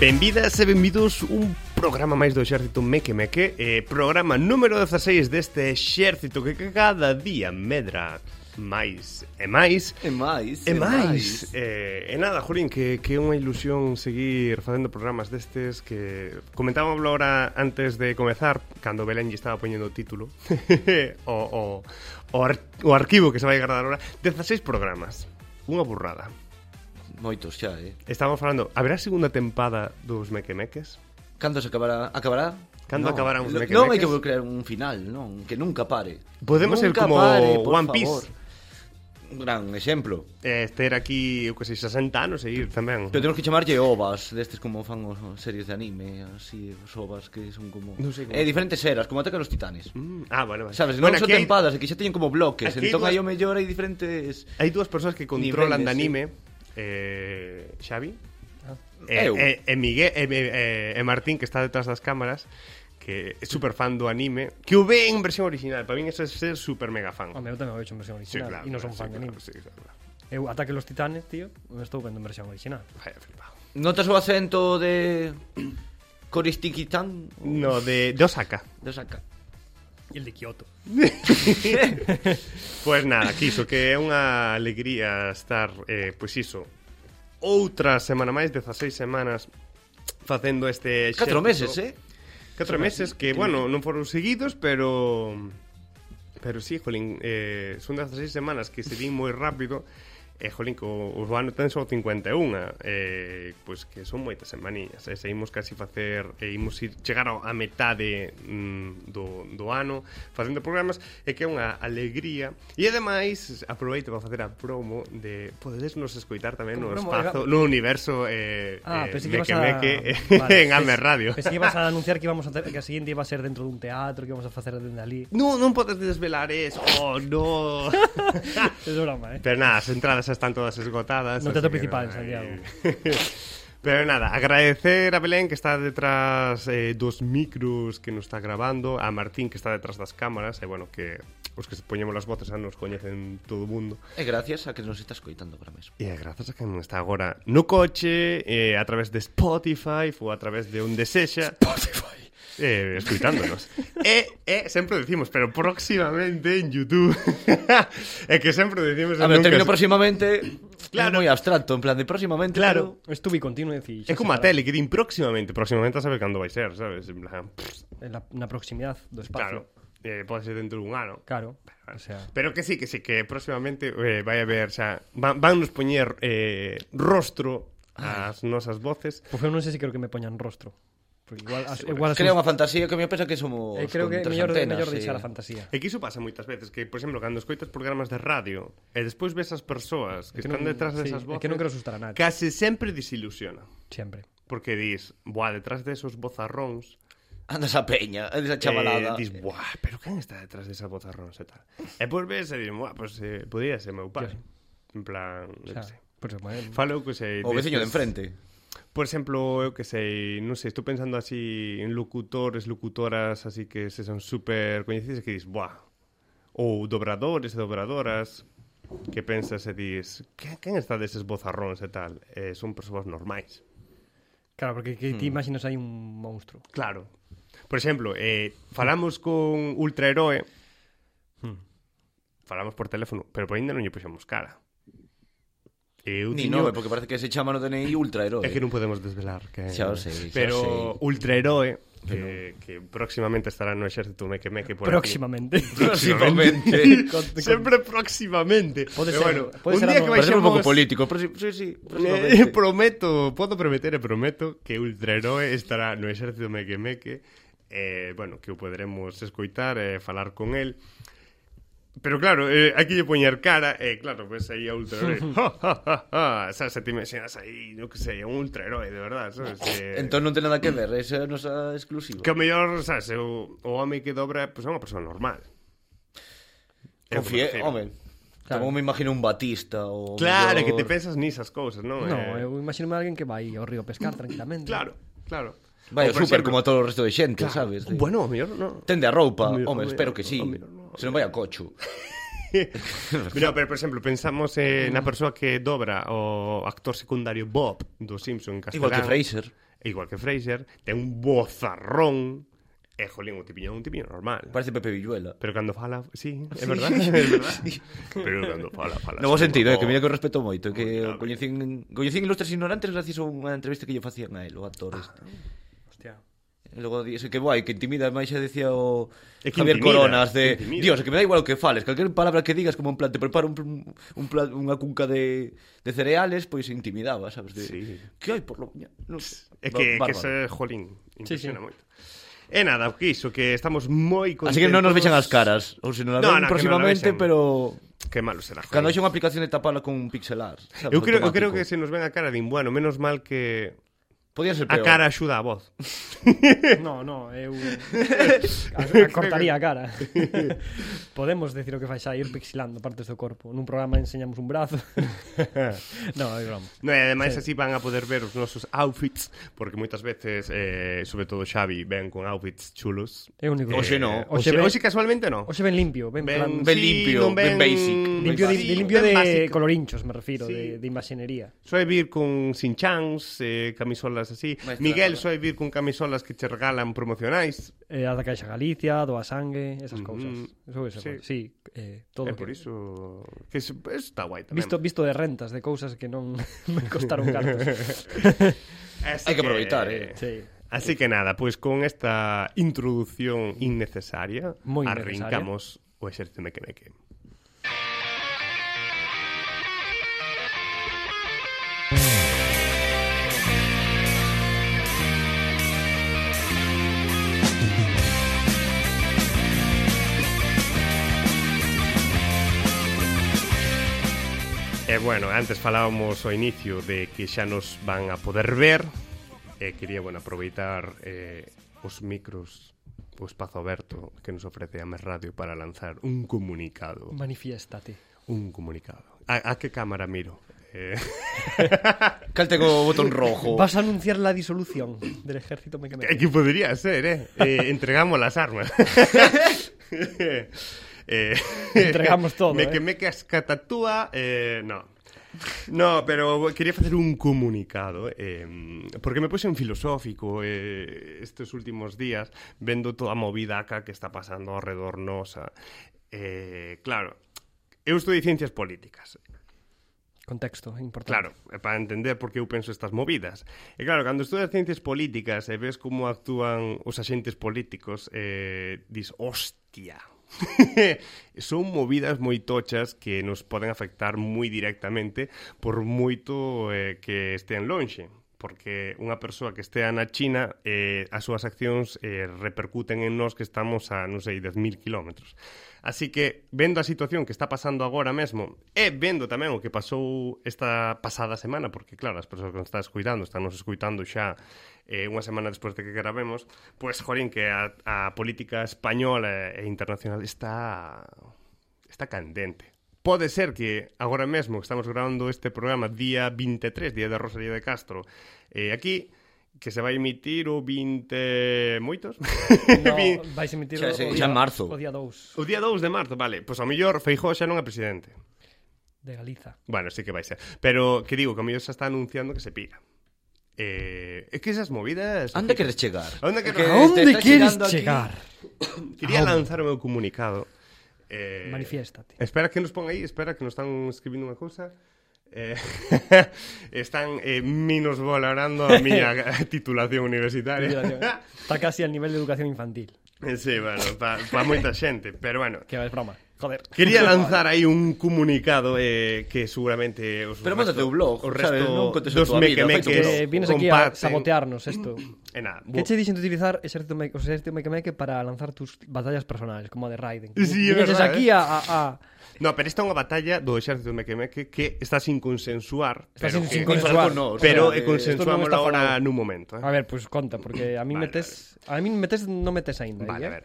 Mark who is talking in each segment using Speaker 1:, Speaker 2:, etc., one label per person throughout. Speaker 1: Benvidas e benvidos un programa máis do Exército Meque Meque eh, Programa número 16 deste Exército que cada día medra máis e máis
Speaker 2: E máis.
Speaker 1: E máis eh, E nada, Julín, que, que é unha ilusión seguir facendo programas destes Que comentábamos agora antes de comezar Cando Belén lle estaba poñendo o título o, o, o, ar, o arquivo que se vai guardar agora 16 programas Unha burrada
Speaker 2: Moitos xa, eh.
Speaker 1: Estamos falando, haberá segunda tempada dos Mequemeques?
Speaker 2: Cando se acabará? Acabará?
Speaker 1: Cando acabarán os
Speaker 2: no,
Speaker 1: mequemeques?
Speaker 2: Non hai que crear un final, non, que nunca pare.
Speaker 1: Podemos ser
Speaker 2: nunca
Speaker 1: como
Speaker 2: pare, por
Speaker 1: One Piece.
Speaker 2: favor. Un gran exemplo.
Speaker 1: eh, ter aquí, eu que sei, 60 anos e ir tamén.
Speaker 2: Pero temos que chamarlle ovas, destes como fan os os series de anime, así, os ovas que son como...
Speaker 1: Non sei como-
Speaker 2: Eh, diferentes eras, como atacan os titanes.
Speaker 1: Mm, ah, vale, vale.
Speaker 2: Sabes, non son
Speaker 1: aquí hai-
Speaker 2: tempadas, é que xa teñen como bloques,
Speaker 1: Aquí hai
Speaker 2: entón
Speaker 1: dúas-
Speaker 2: aí o mellor hai diferentes...
Speaker 1: Hai dúas persoas que controlan de
Speaker 2: Niveles, sí.
Speaker 1: anime, eh, Xavi, e,
Speaker 2: Eu.
Speaker 1: e, e Miguel e, e, e Martín que está detrás das cámaras que é super fan do anime, que o ve en versión original, para min eso é ser super mega fan.
Speaker 3: Home, eu tamén o he hecho en versión
Speaker 1: Sí,
Speaker 3: original
Speaker 1: claro,
Speaker 3: E non
Speaker 1: sí,
Speaker 3: son fan de
Speaker 1: claro,
Speaker 3: anime
Speaker 1: sí, claro.
Speaker 3: Eu ataque los titanes, tío Me estou vendo en versión original
Speaker 1: Vaya flipado.
Speaker 2: Notas o acento de... Coristiquitán
Speaker 1: No, de, de Osaka.
Speaker 2: de Osaka.
Speaker 3: E el de Kyoto
Speaker 1: Pois Pues nada, quiso que é unha alegría estar, eh, pois iso, outra semana máis, 16 semanas facendo este...
Speaker 2: Catro meses, eh?
Speaker 1: 4 meses que, bueno, non foron seguidos, pero... Pero sí, jolín, eh, son 16 semanas que se din moi rápido E, jolín, que o, o ano ten só 51 eh, Pois que son moitas semaninhas E seguimos casi facer E imos ir, chegar ao- á metade mm, do, do ano Facendo programas E que é unha alegría E, ademais, aproveito para facer a promo De podedesnos escoitar tamén no
Speaker 3: Como promo,
Speaker 1: espazo
Speaker 3: era-
Speaker 1: No universo eh,
Speaker 3: Ah,
Speaker 1: eh,
Speaker 3: pensei que ibas
Speaker 1: meque,
Speaker 3: a...
Speaker 1: meque,
Speaker 3: Vale,
Speaker 1: En Amer
Speaker 3: pens-
Speaker 1: Radio
Speaker 3: Pensei que ibas a anunciar que íbamos a ter, que a seguinte iba a ser dentro dun teatro Que íbamos a facer dende ali
Speaker 1: No, non podes desvelar eso. Oh, no.
Speaker 3: É broma, eh
Speaker 1: Pero nada, as entradas xa están todas esgotadas.
Speaker 3: No teatro
Speaker 1: así que
Speaker 3: principal,
Speaker 1: nada,
Speaker 3: Santiago.
Speaker 1: eh. Pero nada, agradecer a Belén que está detrás eh, dos micros que nos está grabando, a Martín que está detrás das cámaras, e bueno, que os que se poñemos las voces xa nos coñecen todo o mundo.
Speaker 2: E gracias a que nos está escoitando agora mesmo.
Speaker 1: E a grazas a que non está agora no coche, eh, a través de Spotify ou a través de onde sexa. Spotify. Eh, escuitándonos. e, e sempre decimos, pero próximamente en YouTube. e que sempre decimos...
Speaker 2: A ver, o
Speaker 1: nunca
Speaker 2: término
Speaker 1: se-
Speaker 2: próximamente
Speaker 1: Claro.
Speaker 2: claro. é moi abstracto, en plan de próximamente
Speaker 1: Claro.
Speaker 3: Estuve continuo e dicir
Speaker 1: É como a tele, que din próximamente. Próximamente a saber cando vai ser, sabes? En plan, pff,
Speaker 3: Na, na proximidad do espacio
Speaker 1: claro, eh, pode ser dentro dun ano.
Speaker 3: Claro, claro. o sea
Speaker 1: Pero que sí, que sí, que próximamente eh, vai haber xa... Van, van nos poñer eh, rostro ás nosas voces
Speaker 3: Pois eu non sei se quero que me poñan rostro Porque igual, as, igual
Speaker 2: pero...
Speaker 3: as
Speaker 2: Creo unha fantasía que me pensa que somos
Speaker 3: eh, creo que
Speaker 2: contra as
Speaker 3: mellor,
Speaker 2: antenas,
Speaker 3: mellor
Speaker 2: sí.
Speaker 3: deixar a fantasía
Speaker 1: E que iso pasa moitas veces, que, por exemplo, cando escoitas programas de radio e despois ves as persoas que,
Speaker 3: que
Speaker 1: están
Speaker 3: non-
Speaker 1: detrás
Speaker 3: sí,
Speaker 1: desas
Speaker 3: é
Speaker 1: voces,
Speaker 3: que non quero asustar a nadie.
Speaker 1: Case sempre desilusiona,
Speaker 3: Sempre
Speaker 1: porque dis, buah, detrás desos bozarróns,
Speaker 2: Andas a peña, andas
Speaker 1: Eh,
Speaker 2: a chavalada.
Speaker 1: dis, buah, pero quen está detrás desas bozarróns e tal? E pois ves e dis, buah, pois eh, podría ser meu pai.
Speaker 3: Yo
Speaker 1: En plan,
Speaker 3: O
Speaker 1: eu
Speaker 3: sea,
Speaker 1: que sei.
Speaker 3: por eso, bueno,
Speaker 1: Falo que sei...
Speaker 2: o veciño
Speaker 1: destes-
Speaker 2: de enfrente.
Speaker 1: Por exemplo, eu que sei, non sei, estou pensando así en locutores, locutoras, así que se son super coñecidos que dis, buah, ou dobradores e dobradoras, que pensas e dis, quen, quen está deses bozarróns e tal? Eh, son persoas normais.
Speaker 3: Claro, porque que
Speaker 1: Hmm.
Speaker 3: ti imaginas hai un monstruo
Speaker 1: Claro. Por exemplo, eh, falamos con Ultraheroe,
Speaker 2: Hmm.
Speaker 1: falamos por teléfono, pero por ainda non lle puxemos cara. Eh, Eu
Speaker 2: Ni
Speaker 1: tiño-
Speaker 2: nove, porque parece que se chama no DNI ultra heroe.
Speaker 1: É que non podemos desvelar que
Speaker 2: Xa o sei, xa o sei.
Speaker 1: Pero ultraheroe que, que próximamente estará no exército meque meque por
Speaker 3: Próximamente
Speaker 1: aquí.
Speaker 2: Próximamente.
Speaker 3: Con- con-
Speaker 1: Sempre próximamente.
Speaker 3: Pode
Speaker 1: Pero
Speaker 3: ser,
Speaker 1: bueno,
Speaker 3: pode
Speaker 1: un
Speaker 3: ser
Speaker 1: día
Speaker 3: algo-
Speaker 1: que
Speaker 2: Parece un pouco
Speaker 1: baixemos
Speaker 2: político. Proxi... Sí, sí,
Speaker 1: Eh,
Speaker 2: próximamente.
Speaker 1: prometo, podo prometer e prometo que Ultraheroe estará no exército meque meque eh, bueno, que o poderemos escoitar e eh, falar con el Pero claro, eh, aquí lle poñer cara e eh, claro, pues aí a Ultraheroe ja, ja, ja, ja, sabes, se te imaginas aí no que sei, un Ultraheroe, de verdad sabes, eh,
Speaker 2: Entón non ten nada que ver, esa é a nosa exclusiva.
Speaker 1: Que o mellor, sabes, o, o home que dobra pois, é unha persoa normal. E é o que me
Speaker 2: Confie,
Speaker 1: refiro.
Speaker 2: home,
Speaker 3: Claro.
Speaker 2: claro. me imagino un Batista ou...
Speaker 1: Claro, que te
Speaker 2: mellor-
Speaker 1: pensas nisas cousas, non?
Speaker 3: No,
Speaker 1: Eh,
Speaker 3: eu imagino alguén que vai ao río pescar tranquilamente.
Speaker 1: Claro, claro.
Speaker 2: Vai
Speaker 1: Ou,
Speaker 2: ao
Speaker 1: por
Speaker 2: super
Speaker 1: exemplo,
Speaker 2: como a todo o resto de xente, sabes? De-
Speaker 1: Bueno, o mellor non.
Speaker 2: Tende a roupa,
Speaker 1: O mellor- o
Speaker 2: home, espero
Speaker 1: mellor-
Speaker 2: que sí.
Speaker 1: o mellor non.
Speaker 2: Se non vai a cocho.
Speaker 1: Mira, pero, por exemplo, pensamos eh, na persoa que dobra o actor secundario Bob do Simpson en castelán.
Speaker 2: Igual que Fraser.
Speaker 1: Igual que Fraser. Ten un bozarrón. E, jolín, o tipiño é un tipiño normal.
Speaker 2: Parece Pepe Villuela.
Speaker 1: Pero cando fala, sí, é verdad, é verdad. Pero cando fala, fala.
Speaker 2: No bo
Speaker 1: así,
Speaker 2: sentido, eh, que
Speaker 1: oh,
Speaker 2: mira que o respeto moito, que
Speaker 1: Claro.
Speaker 2: o coñecín, coñecín Ilustres Ignorantes gracias a unha entrevista que lle facían a él, o
Speaker 1: Ah.
Speaker 2: actor este.
Speaker 3: Hostia.
Speaker 2: E logo dixe que guai, que intimida, máis xa decía o
Speaker 1: É que
Speaker 2: Javier
Speaker 1: intimida,
Speaker 2: Coronas de,
Speaker 1: intimida.
Speaker 2: dios, é que me da igual o que fales, calquer palabra que digas como en plan te preparo un, pl- un pla- unha cunca de, de cereales, pois intimidaba, sabes? De,
Speaker 1: Sí.
Speaker 2: Que hai por lo mañá? Non sei.
Speaker 1: É que,
Speaker 2: Ba-
Speaker 1: que
Speaker 2: bárbaro.
Speaker 1: se, jolín, impresiona sí, sí. moito. E nada, o que iso, que estamos moi contentos.
Speaker 2: Así que non nos vexan as caras, ou se nos
Speaker 1: No,
Speaker 2: no,
Speaker 1: no, que non la
Speaker 2: próximamente,
Speaker 1: vexan.
Speaker 2: pero
Speaker 1: Que malo será, jolín.
Speaker 2: cando haxa unha aplicación de tapala con un pixelar, sabes?
Speaker 1: Eu creo, eu creo
Speaker 2: automático.
Speaker 1: que se nos ven a cara din, bueno, menos mal que
Speaker 2: podía ser
Speaker 1: a
Speaker 2: peor.
Speaker 1: cara axuda a voz.
Speaker 3: No, no, eu a- acortaría a cara. Podemos decir o que fai xa ir pixilando partes do corpo. Nun programa enseñamos un brazo. no, é broma.
Speaker 1: No, e ademais
Speaker 3: Sí.
Speaker 1: así van a poder ver os nosos outfits, porque moitas veces, eh, sobre todo Xavi, ven con outfits chulos. Eh,
Speaker 3: É o único.
Speaker 2: Oxe, no.
Speaker 1: Oxe,
Speaker 3: Oxe ve-
Speaker 1: oxe casualmente no.
Speaker 3: Oxe ven limpio, ven, plan,
Speaker 1: Ben,
Speaker 2: ben limpio, ben basic, ben
Speaker 3: limpio de,
Speaker 2: básico.
Speaker 3: de limpio de
Speaker 1: ben básico.
Speaker 3: colorinchos, me refiro,
Speaker 1: Sí.
Speaker 3: de, de imaxinería.
Speaker 1: Soe vir con sinchans, eh, camisolas así.
Speaker 2: Maestra,
Speaker 1: Miguel
Speaker 2: nada.
Speaker 1: soe vir con camisolas que che regalan promocionais.
Speaker 3: Eh, a da Caixa Galicia, do A Sangue,
Speaker 1: Mhm.
Speaker 3: esas cousas. Eso é
Speaker 1: Sí.
Speaker 3: sí. sí, eh, todo
Speaker 1: É
Speaker 3: o que...
Speaker 1: por iso que se- está guai tamén.
Speaker 3: Visto, visto de rentas, de cousas que non me costaron cartos.
Speaker 1: Así
Speaker 2: Hai que aproveitar, eh.
Speaker 3: sí.
Speaker 1: Así que nada, pois con esta introdución innecesaria
Speaker 3: Moi innecesaria.
Speaker 1: arrancamos o exército me que me que. E bueno, antes falábamos ao inicio de que xa nos van a poder ver e quería, bueno, aproveitar eh, os micros o espazo aberto que nos ofrece Ames Radio para lanzar un comunicado.
Speaker 3: Manifiéstate.
Speaker 1: Un comunicado. A, a que cámara miro? Eh,
Speaker 2: Cal ten o botón rojo.
Speaker 3: Vas a anunciar la disolución del ejército mecánico.
Speaker 1: que podría ser, eh? eh entregamos las armas. eh,
Speaker 3: Entregamos todo,
Speaker 1: Me
Speaker 3: eh.
Speaker 1: que me que escatatúa, eh, no. No, pero quería facer un comunicado eh, Porque me puse un filosófico eh, Estes últimos días Vendo toda a movidaca que está pasando alrededor nosa eh, Claro, eu estudiei ciencias políticas
Speaker 3: Contexto, importante.
Speaker 1: Claro, e para entender por que eu penso estas movidas. E claro, cando estudas ciencias políticas e ves como actúan os axentes políticos, eh, dis, hostia, son movidas moi tochas que nos poden afectar moi directamente por moito eh, que estean lonxe porque unha persoa que estea na China eh, as súas accións eh, repercuten en nós que estamos a, non sei, 10.000 kilómetros. Así que, vendo a situación que está pasando agora mesmo e vendo tamén o que pasou esta pasada semana, porque claro, as persoas que nos están escuitando, están nos escuitando xa eh, unha semana despois de que gravemos, pois, jolín, que a, a política española e internacional está está candente. Pode ser que agora mesmo que estamos grabando este programa día 23, día da Rosalía de Castro, eh, aquí que se vai emitir o 20 moitos.
Speaker 3: No,
Speaker 1: Vi-
Speaker 3: vais emitir
Speaker 2: Xa-
Speaker 3: o
Speaker 2: xa- xa
Speaker 3: día-
Speaker 2: en marzo.
Speaker 3: O día 2
Speaker 1: o día 2 de marzo, vale. Pois ao mellor Feijóo xa non é presidente.
Speaker 3: de Galiza.
Speaker 1: Bueno, sí que vai ser. Pero que digo, que ao mellor xa está anunciando que se pira. Eh, é que esas movidas...
Speaker 2: Anda queres chegar?
Speaker 1: Anda que-
Speaker 2: Que
Speaker 1: ¿A
Speaker 2: te está chegando aquí.
Speaker 1: Quería lanzar o meu comunicado. Eh,
Speaker 3: Manifiéstate.
Speaker 1: Espera que nos pon aí, espera que nos están escribindo unha cousa. Eh, están eh, minos valorando a miña titulación universitaria.
Speaker 3: Está casi al nivel de educación infantil.
Speaker 1: sí, bueno, para pa moita xente, pero bueno.
Speaker 3: Que es broma. Joder.
Speaker 1: Quería lanzar aí un comunicado eh, que seguramente os
Speaker 2: Pero mándate un blog,
Speaker 1: o resto
Speaker 2: sabes, non contes a
Speaker 1: dos
Speaker 2: tua vida,
Speaker 1: mequemeques
Speaker 2: fai tu blog.
Speaker 3: Que Eh, vienes aquí a
Speaker 1: comparten.
Speaker 3: sabotearnos esto.
Speaker 1: E nada,
Speaker 3: ¿Qué che dicen de utilizar Exército Mec- o sea, Exército Mequemeque para lanzar tus batallas personales, como a de Raiden?
Speaker 1: Sí, es
Speaker 3: Vienes
Speaker 1: verdad,
Speaker 3: aquí
Speaker 1: eh.
Speaker 3: a, a- a-
Speaker 1: No, pero esta é unha batalla do exército mequemeque que está sin consensuar,
Speaker 3: Está
Speaker 1: pero
Speaker 3: sin-
Speaker 1: que-
Speaker 3: sin
Speaker 2: Ni falar
Speaker 3: consensuar.
Speaker 2: con nós,
Speaker 1: pero
Speaker 2: o sea,
Speaker 1: eh,
Speaker 2: que-
Speaker 1: consensuámoslo
Speaker 3: esto non está
Speaker 1: ahora
Speaker 3: falado.
Speaker 1: nun momento, eh.
Speaker 3: A ver, pues conta, porque a mí
Speaker 1: Vale,
Speaker 3: metes... A mí metes, no metes ainda.
Speaker 1: Vale,
Speaker 3: eh?
Speaker 1: a ver.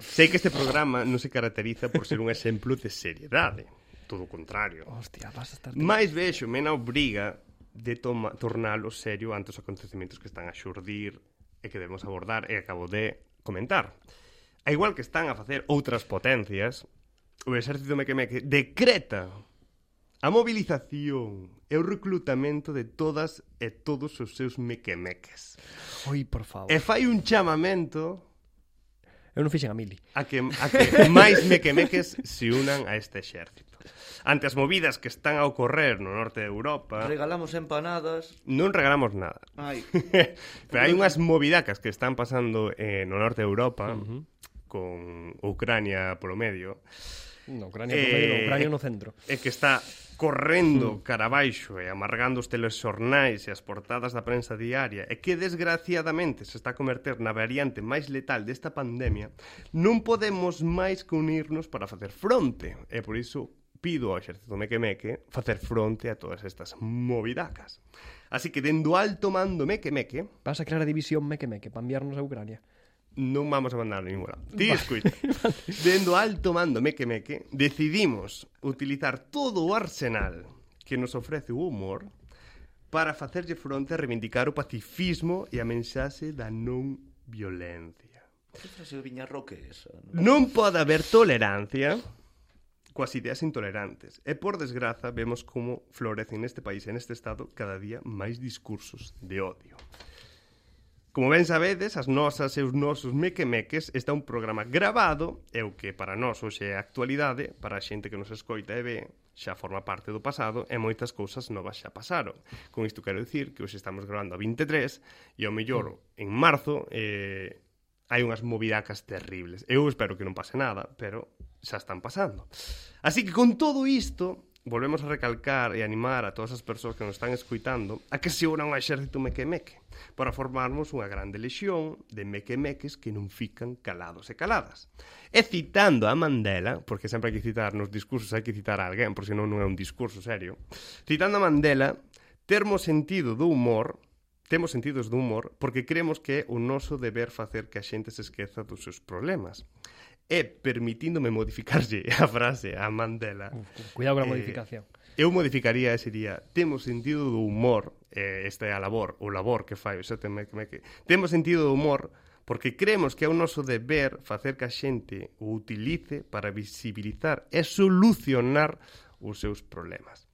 Speaker 1: Sei que este programa non se caracteriza por ser un exemplo de seriedade, todo o contrario.
Speaker 3: Hostia, vas a estar...
Speaker 1: Mais vexo me na obriga de toma, tornalo serio ante os acontecimentos que están a xurdir e que debemos abordar e acabo de comentar. A igual que están a facer outras potencias, o exército mequemeque decreta a movilización e o reclutamento de todas e todos os seus mequemeques.
Speaker 3: Oi, por favor.
Speaker 1: E fai un chamamento
Speaker 3: Eu non fixen a mili.
Speaker 1: a que, a que máis mequemeques se unan a este exército. Ante as movidas que están a ocorrer no norte de Europa,
Speaker 2: Regalamos empanadas.
Speaker 1: non regalamos nada.
Speaker 2: Ai.
Speaker 1: Pero hai unhas movidacas que están pasando eh, no norte de Europa, uh -huh. con Ucrania polo medio,
Speaker 3: No, Ucrania eh... medio,
Speaker 1: Eh,
Speaker 3: Ucrania no centro.
Speaker 1: e que está correndo cara abaixo e amargando os telexornais e as portadas da prensa diaria e que desgraciadamente se está a converter na variante máis letal desta pandemia non podemos máis que unirnos para facer fronte e por iso pido ao exército mequemeque facer fronte a todas estas movidacas así que dendo alto mando mequemeque
Speaker 3: Vas a crear a división meque meque para enviarnos a Ucrania.
Speaker 1: non vamos a mandar a ningún lado. Ti escuita. Dendo alto mando meque meque, decidimos utilizar todo o arsenal que nos ofrece o humor para facerlle fronte a reivindicar o pacifismo e a mensaxe da non violencia.
Speaker 2: Que frase de Viñarroque é esa?
Speaker 1: Non
Speaker 2: non?
Speaker 1: pode haber tolerancia coas ideas intolerantes. E por desgraza vemos como florecen neste país e neste estado cada día máis discursos de odio. Como ben sabedes, as nosas e os nosos mequemeques está un programa gravado e o que para nós hoxe é actualidade, para a xente que nos escoita e ve, xa forma parte do pasado e moitas cousas novas xa pasaron. Con isto quero dicir que hoxe estamos gravando a 23 e ao mellor en marzo eh, hai unhas movidacas terribles. Eu espero que non pase nada, pero xa están pasando. Así que con todo isto, volvemos a recalcar e animar a todas as persoas que nos están escuitando a que se unan ao exército mequemeque para formarmos unha grande lexión de mequemeques que non fican calados e caladas. E citando a Mandela, porque sempre hai que citar nos discursos, hai que citar a alguén, por senón non é un discurso serio, citando a Mandela, termos sentido do humor Temos sentidos do humor porque creemos que é o noso deber facer que a xente se esqueza dos seus problemas. E, permitíndome modificarlle a frase a Mandela,
Speaker 3: Cuidado con a
Speaker 1: Eh,
Speaker 3: modificación.
Speaker 1: Eu modificaría ese día Temos sentido do humor eh, Esta é a labor, o labor que fai o xate mequemeque. Temos sentido do humor Porque creemos que é o noso deber Facer que a xente o utilice Para visibilizar e solucionar Os seus problemas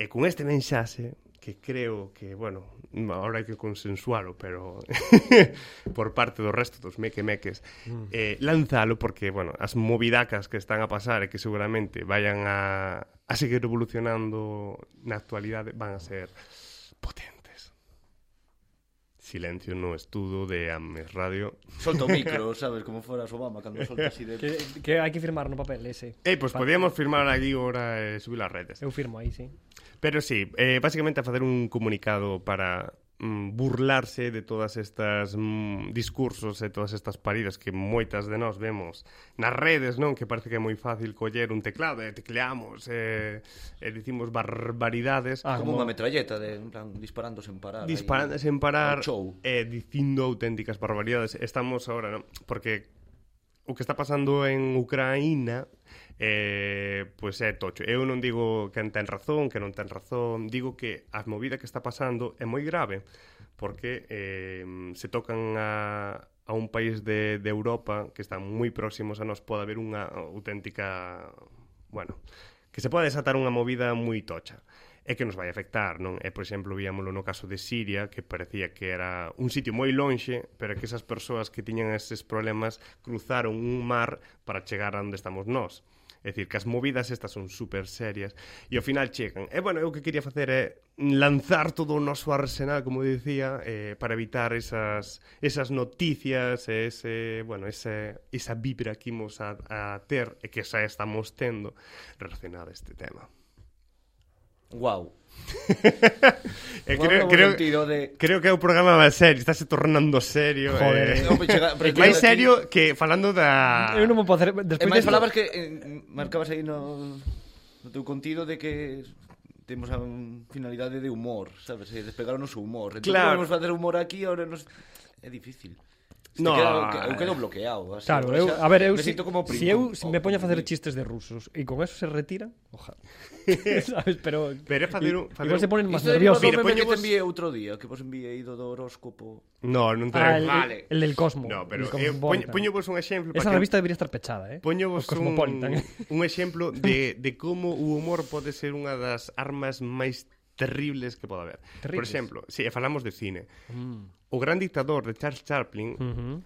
Speaker 1: E con este mensaxe que creo que, bueno, ahora hai que consensualo, pero por parte do resto dos mequemeques, mm. eh, lanzalo porque, bueno, as movidacas que están a pasar e que seguramente vayan a, a seguir evolucionando na actualidade van a ser potentes. Silencio no estudo de Ames Radio.
Speaker 2: Solta o micro, sabes, como foras Obama cando solta así de...
Speaker 3: Que, que hai que firmar no papel ese.
Speaker 1: Eh, pois pues podíamos firmar aquí ora e subir as redes.
Speaker 3: Eu firmo aí, sí.
Speaker 1: Pero sí, eh, básicamente a facer un comunicado para mm, burlarse de todas estas mm, discursos e todas estas paridas que moitas de nós vemos nas redes, non? Que parece que é moi fácil coller un teclado e tecleamos e, e dicimos barbaridades
Speaker 3: Ah,
Speaker 2: Como
Speaker 3: como-
Speaker 2: unha metralleta, de, en plan, disparando sen parar. aí.
Speaker 1: disparando sen parar
Speaker 2: ao show.
Speaker 1: e dicindo auténticas barbaridades. Estamos ahora, non? Porque o que está pasando en Ucraína eh, pois é tocho. Eu non digo que ten razón, que non ten razón, digo que a movida que está pasando é moi grave porque eh, se tocan a, a un país de, de Europa que están moi próximos a nós pode haber unha auténtica bueno, que se pode desatar unha movida moi tocha e que nos vai afectar, non? E, por exemplo, víamolo no caso de Siria, que parecía que era un sitio moi lonxe, pero que esas persoas que tiñan eses problemas cruzaron un mar para chegar a onde estamos nós. É dicir, que as movidas estas son super serias e ao final chegan. E, bueno, eu o que quería facer é lanzar todo o noso arsenal, como dicía, eh, para evitar esas, esas noticias, e ese, bueno, ese, esa vibra que imos a, a ter e que xa estamos tendo relacionada a este tema.
Speaker 2: Guau.
Speaker 1: E
Speaker 2: Guau
Speaker 1: Eh, creo,
Speaker 2: no
Speaker 1: creo,
Speaker 2: sentido de...
Speaker 1: Creo que o programa vai ser, estáse tornando serio.
Speaker 3: Joder.
Speaker 1: eh.
Speaker 2: Non, pero chega- pero
Speaker 1: máis
Speaker 2: chega-
Speaker 1: serio que falando da...
Speaker 3: Eu non vou poder...
Speaker 2: E
Speaker 3: Despois
Speaker 2: máis
Speaker 3: desto-
Speaker 2: falabas que eh, marcabas aí no, no teu contido de que temos a un finalidade de Eh, humor, sabes? E despegaron o humor. Entón,
Speaker 1: Claro.
Speaker 2: podemos facer humor aquí, ahora nos... É difícil. No. Quedo, eu quedo bloqueado. Así,
Speaker 3: eh, Claro,
Speaker 2: Ahora
Speaker 3: eu,
Speaker 2: xa
Speaker 3: a ver, eu
Speaker 2: me
Speaker 3: si,
Speaker 2: sinto como
Speaker 3: si eu si me poño a facer chistes de rusos e con eso se retiran, ojalá. Sabes, pero
Speaker 1: Pero é facer un- facer
Speaker 3: igual
Speaker 1: un-
Speaker 3: se ponen máis
Speaker 2: Isto é igual
Speaker 3: nerviosos.
Speaker 1: Mira,
Speaker 2: do meme que
Speaker 1: poñemos-
Speaker 2: te envié outro día, que vos enviei do do horóscopo.
Speaker 1: No, non
Speaker 3: Ah,
Speaker 1: trae.
Speaker 3: el,
Speaker 2: Vale.
Speaker 3: el del Cosmo.
Speaker 1: No, pero eh,
Speaker 3: el
Speaker 1: poño,
Speaker 3: Cosmopolitan.
Speaker 1: poño vos un exemplo
Speaker 3: Esa
Speaker 1: para que
Speaker 3: revista debería estar pechada, eh?
Speaker 1: Poñovos un,
Speaker 3: o Cosmopolitan.
Speaker 1: un exemplo de, de como o humor pode ser unha das armas máis terribles que pode haber. Por
Speaker 3: Terribles. Mm.
Speaker 1: exemplo, se falamos de cine. O gran dictador de Charles Chaplin
Speaker 3: Ujú.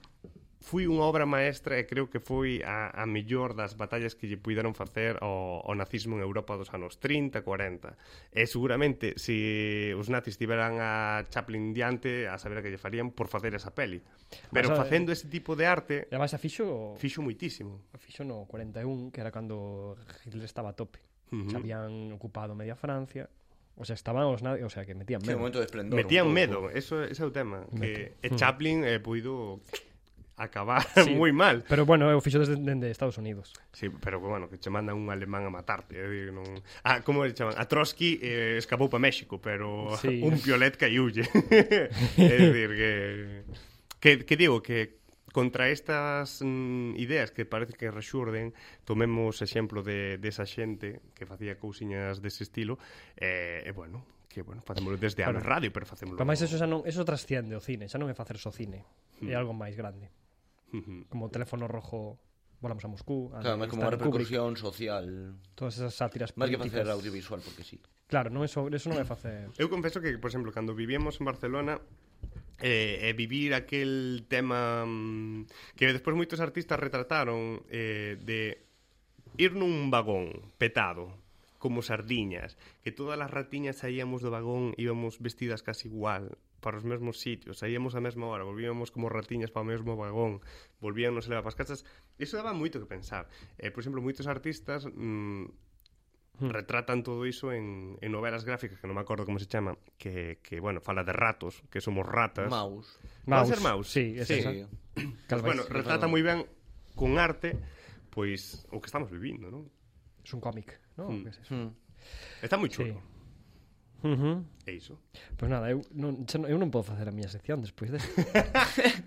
Speaker 1: foi unha obra maestra e creo que foi a, a mellor das batallas que lle puideron facer ao, ao nazismo en Europa dos anos 30, 40. E seguramente se os nazis tiveran a Chaplin diante, a saber a que lle farían por facer esa peli. Pero
Speaker 3: Mas, a-
Speaker 1: facendo ese tipo de arte,
Speaker 3: E además a fixo
Speaker 1: fixo moitísimo.
Speaker 3: a fixo no 41, que era cando Hitler estaba a tope. Se habían ocupado media Francia. O sea, estaban os nazis, o sea, que metían
Speaker 2: Que
Speaker 3: medo.
Speaker 2: momento de esplendor.
Speaker 1: Metían
Speaker 2: un pouco.
Speaker 1: medo, eso ese é o tema, que e Chaplin eh, puido acabar
Speaker 3: Sí.
Speaker 1: moi mal.
Speaker 3: Pero bueno, eu fixo desde, dende Estados Unidos.
Speaker 1: Sí, pero que, bueno, que che manda un alemán a matarte, eh, digo, non... Ah, como le chaman? A Trotsky eh, escapou para México, pero sí.
Speaker 3: Sí.
Speaker 1: un piolet caiulle. é dicir que que que digo que contra estas mm, ideas que parece que rexurden, tomemos exemplo de desa de xente que facía cousiñas dese estilo, eh, e bueno, que bueno, facémoslo desde a
Speaker 3: Claro.
Speaker 1: radio, pero facémoslo.
Speaker 3: Pero máis eso xa non, eso trasciende o cine, xa non é facer só cine. É algo máis grande.
Speaker 1: Ujú.
Speaker 3: Como o teléfono rojo, volamos a Moscú, a
Speaker 2: Claro, máis como unha
Speaker 3: Stanley Kubrick,
Speaker 2: repercusión social.
Speaker 3: todas esas sátiras
Speaker 2: Máis que
Speaker 3: políticas.
Speaker 2: facer audiovisual, porque sí.
Speaker 3: Claro, non é so, eso non é facer.
Speaker 1: Eu confeso que, por exemplo, cando vivíamos en Barcelona eh, e vivir aquel tema mm, que despois moitos artistas retrataron eh, de ir nun vagón petado como sardiñas, que todas as ratiñas saíamos do vagón, íbamos vestidas casi igual, para os mesmos sitios, saíamos á mesma hora, volvíamos como ratiñas para o mesmo vagón, volvíamos a levar para as casas, iso daba moito que pensar. Eh, por exemplo, moitos artistas mm, retratan todo iso en, en novelas gráficas que non me acordo como se chama que, que bueno, fala de ratos, que somos ratas
Speaker 2: Maus.
Speaker 1: Van a ser Maus.
Speaker 3: Sí, é
Speaker 1: Sí.
Speaker 3: esa.
Speaker 2: Sí.
Speaker 1: pues, bueno,
Speaker 3: Calváis.
Speaker 1: retrata moi ben con arte pois o que estamos vivindo, non?
Speaker 3: Es un cómic, ¿no?
Speaker 1: Mm.
Speaker 3: Que es eso.
Speaker 2: Hmm.
Speaker 1: Está moi
Speaker 3: Sí.
Speaker 1: chulo,
Speaker 3: Ujú.
Speaker 1: é iso
Speaker 3: Pois Pues nada, eu non, xa non- eu non podo facer a miña sección despois deste.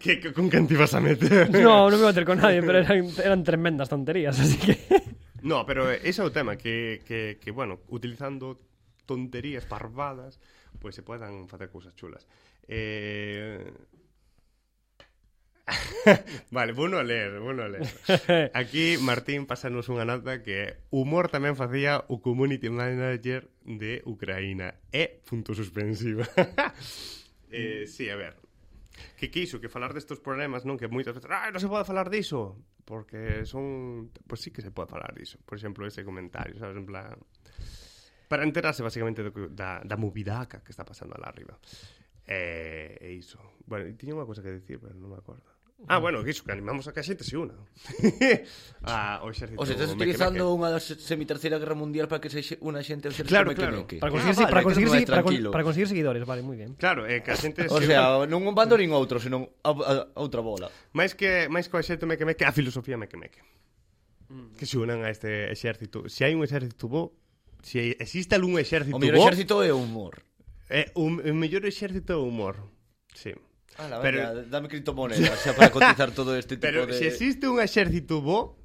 Speaker 1: que, que, con quen te ibas a meter?
Speaker 3: no, non me vou ter con nadie, pero eran, eran tremendas tonterías, así que...
Speaker 1: no, pero eh, ese é o tema que, que, que bueno, utilizando tonterías parvadas pois se podan facer cousas chulas eh... vale, bueno a ler, bueno a ler Aquí Martín pásanos unha nota que humor tamén facía o community manager de Ucraína. E punto suspensiva. eh, sí, a ver. Que quiso que falar destos problemas, non? Que moitas veces, ah, non se pode falar diso, porque son, pois pues sí que se pode falar diso. Por exemplo, ese comentario, sabes, en plan para enterarse basicamente do, que- da, da movidaca que está pasando lá arriba. Eh, e iso. Bueno, e tiña unha cousa que dicir, pero non me acordo. Ah, bueno, que iso, que animamos a que a xente se una. ah, o exército.
Speaker 2: O sea, estás
Speaker 1: meque-meque.
Speaker 2: utilizando unha se- semi-terceira guerra mundial para que se xe- una xente ao ser
Speaker 1: Claro, claro.
Speaker 2: Ah,
Speaker 3: Para conseguir, para, conseguir,
Speaker 2: conseguir
Speaker 3: para, con- para conseguir seguidores, vale, moi ben.
Speaker 1: Claro, eh, que a xente
Speaker 2: O
Speaker 1: se una.
Speaker 2: sea, non un bando nin outro, senón a, a, a outra bola.
Speaker 1: Máis que, máis que o exército meque meque, a filosofía meque meque. Que se unan a este exército. Se hai un exército bo, se existe algún exército
Speaker 2: O
Speaker 1: bo,
Speaker 2: mellor exército é o humor.
Speaker 1: é un, un mellor exército é o humor. Sí.
Speaker 2: Ala,
Speaker 1: Pero-
Speaker 2: venga, dame criptomonedas xa para cotizar todo este tipo
Speaker 1: Pero
Speaker 2: de...
Speaker 1: se existe un exército bo,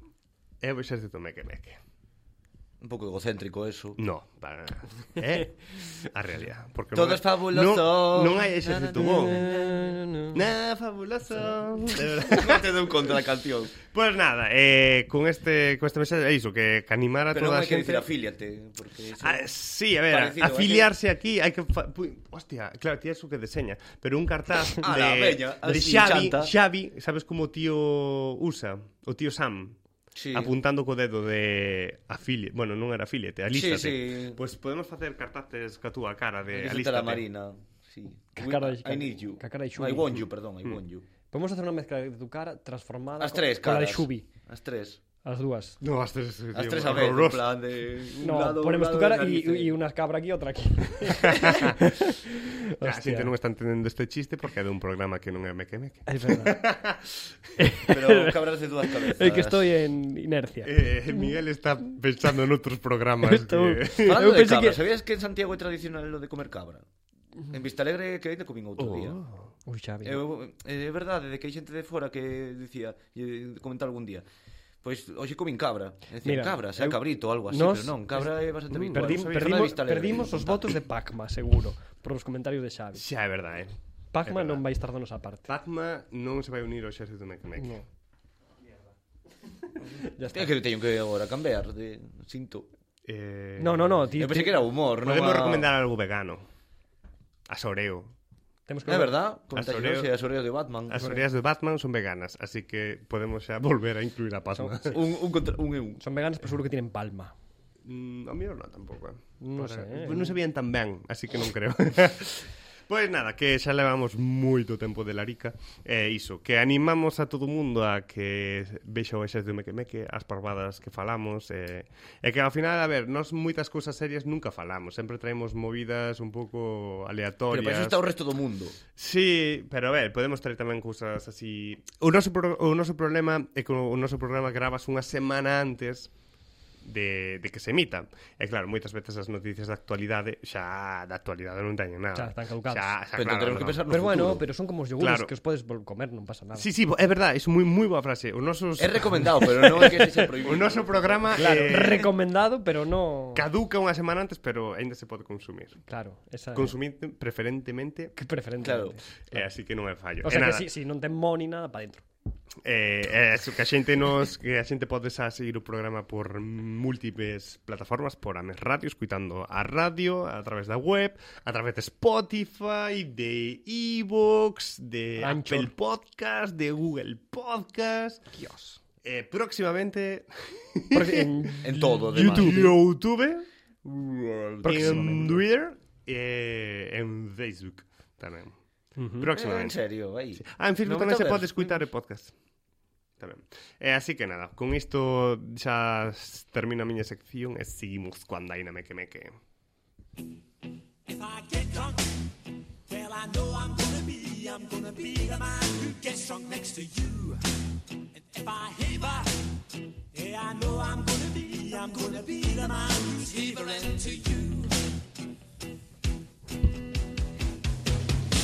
Speaker 1: é o exército meque meque.
Speaker 2: Un pouco egocéntrico eso.
Speaker 1: No, para nada. É a realidad. Porque
Speaker 2: Todo
Speaker 1: non-
Speaker 2: es fabuloso.
Speaker 1: Non, non hai exército bo.
Speaker 3: No.
Speaker 1: Nada, fabuloso. De verdad.
Speaker 2: te deu conta da canción.
Speaker 1: Pois pues nada, eh, con este con este mensaje é iso, que, que animar a
Speaker 2: Pero
Speaker 1: toda a
Speaker 2: non hai que
Speaker 1: xente...
Speaker 2: dicir afíliate, porque... Eso...
Speaker 3: eh,
Speaker 1: Ah, sí, a ver,
Speaker 2: Parecido, hai que-
Speaker 1: afiliarse aquí, hai que fa... pu- hostia, claro, ti eso que deseña, pero un cartaz de,
Speaker 2: Ala, veña,
Speaker 1: de
Speaker 2: así,
Speaker 1: Xavi,
Speaker 2: chanta.
Speaker 1: Xavi, sabes como o tío usa, o tío Sam,
Speaker 2: Sí.
Speaker 1: apuntando co dedo de afili, bueno, non era afiliate, alístate.
Speaker 2: sí.
Speaker 1: Pois podemos facer cartaces ca túa cara de
Speaker 2: Alístate
Speaker 1: alístate.
Speaker 2: a la Marina. Sí.
Speaker 3: Ca cara de-
Speaker 2: I need you.
Speaker 3: ca cara de Mm.
Speaker 2: I
Speaker 3: Xubi.
Speaker 2: want you, perdón, I want you.
Speaker 3: Podemos hacer unha mezcla de tu cara transformada
Speaker 2: As tres
Speaker 3: con,
Speaker 2: caras.
Speaker 3: la de Xubi,
Speaker 2: As tres.
Speaker 3: as dúas.
Speaker 1: No, as tres, tío,
Speaker 2: As tres a ver, en
Speaker 1: horroroso.
Speaker 2: plan de... Un
Speaker 3: No,
Speaker 2: lado, un
Speaker 3: ponemos tu
Speaker 2: lado
Speaker 3: cara
Speaker 2: de
Speaker 3: y,
Speaker 2: narices.
Speaker 3: y una cabra aquí, outra aquí.
Speaker 1: Claro, a xente non está entendendo este chiste porque é dun programa que non é meque meque.
Speaker 3: Es verdad.
Speaker 2: Pero cabras de dúas cabezas.
Speaker 3: É que estoy en inercia.
Speaker 1: Eh, Miguel está pensando en outros programas
Speaker 3: Estou-
Speaker 1: que...
Speaker 2: Falando
Speaker 3: Eu
Speaker 2: de eh.
Speaker 3: pensei
Speaker 2: cabra,
Speaker 3: que-
Speaker 2: sabías que en Santiago é tradicional lo de comer cabra? En Vista Alegre que ainda comín outro día. Eh,
Speaker 3: Ui, Xavi.
Speaker 2: Eu, é verdade de que hai xente de fora que dicía, e comentar algún día, pois hoxe comín cabra. É dicir,
Speaker 3: Mira,
Speaker 2: cabra, xa
Speaker 3: eu-
Speaker 2: cabrito ou algo así,
Speaker 3: Nos- Mm,
Speaker 2: pero non, cabra é bastante habitual.
Speaker 3: Perdim,
Speaker 2: Sabía falar de
Speaker 3: perdimos,
Speaker 2: Vista Alegre.
Speaker 3: perdimos os votos de Pacma, seguro, por os comentarios de Xavi.
Speaker 1: Xa é verdade, eh?
Speaker 3: Pacma
Speaker 1: É verdade.
Speaker 3: non vai estar da nosa parte.
Speaker 1: Pacma non se vai unir ao xército Mecamec.
Speaker 3: No. Ya
Speaker 2: É
Speaker 3: está.
Speaker 2: que teño que agora cambiar de sinto.
Speaker 1: Eh,
Speaker 3: No, no, no,
Speaker 2: Eu
Speaker 3: ti,
Speaker 2: pensei que era humor, non?
Speaker 1: Podemos
Speaker 2: a-
Speaker 1: recomendar algo vegano. A Soreo.
Speaker 3: temos que
Speaker 2: É verdad, comentaxe
Speaker 1: Asoreo.
Speaker 2: hoxe a Soreo de Batman.
Speaker 1: As oreas do Batman son veganas, así que podemos xa volver a incluir a Pacma.
Speaker 2: Un, un contra... Un e un.
Speaker 3: Son veganos, pero seguro que tienen palma.
Speaker 1: Mm, ao mellor non tampouco, eh.
Speaker 3: Non
Speaker 1: Para-
Speaker 3: sei, eh.
Speaker 1: Pois Non sabían tan ben, así que non creo. Pois nada, que xa levamos moito tempo de Larica E iso, que animamos a todo o mundo a que vexo esas do Mequemeque As parvadas que falamos E, e que ao final, a ver, nos moitas cousas serias nunca falamos Sempre traemos movidas un pouco
Speaker 2: Pero
Speaker 1: aleatorias
Speaker 2: para iso está o resto do mundo.
Speaker 1: Sí, pero a ver, podemos traer tamén cousas así. O noso pro, o noso problema é que o noso programa gravas unha semana antes de, de que se emita. E claro, moitas veces as noticias da actualidade xa da actualidade non teñen nada.
Speaker 3: Xa están caducadas.
Speaker 1: Xa, xa
Speaker 2: Pero
Speaker 1: claro,
Speaker 2: tenemos que
Speaker 1: non.
Speaker 2: pensar no
Speaker 3: Pero bueno,
Speaker 2: futuro.
Speaker 3: pero son como os yogures
Speaker 1: Claro.
Speaker 3: que os podes vol- comer, non pasa nada.
Speaker 1: Sí, sí, bo- é verdade, é moi moi boa frase. O noso
Speaker 2: É recomendado, pero non é que sexa
Speaker 1: o
Speaker 2: prohibido.
Speaker 1: noso programa
Speaker 3: Claro,
Speaker 1: eh,
Speaker 3: recomendado, pero no...
Speaker 1: caduca unha semana antes, pero aínda se pode consumir.
Speaker 3: Claro, esa
Speaker 1: Consumir preferentemente
Speaker 3: que preferente.
Speaker 2: Claro.
Speaker 1: Eh, así que non é fallo. E
Speaker 3: O sea
Speaker 1: nada.
Speaker 3: que si, si non ten mo ni nada, pa dentro.
Speaker 1: Eh, eso, que a xente nos que a xente pode xa seguir o programa por múltiples plataformas, por a mes radio, escuitando a radio, a través da web, a través de Spotify, de iVoox, de
Speaker 3: Anchor.
Speaker 1: Apple Podcast, de Google Podcast. Dios. Eh, próximamente
Speaker 3: Porque en-
Speaker 2: En todo, además.
Speaker 1: YouTube, YouTube en
Speaker 2: Próximamente.
Speaker 1: Twitter eh, en Facebook tamén.
Speaker 2: Eh, en
Speaker 1: Próximamente.
Speaker 2: serio, aí.
Speaker 1: Ah, en Facebook
Speaker 2: No,
Speaker 1: tamén se
Speaker 2: Tumblr.
Speaker 1: pode escutar o podcast. Tamén. Eh, así que nada, con isto xa s- termina a miña sección e seguimos cuando hai na meque meque.
Speaker 4: If I get drunk, well, I know I'm gonna be, I'm gonna be the man who gets drunk next to you. And if I haver, yeah, I know I'm gonna be, I'm gonna be the man who's havering to you.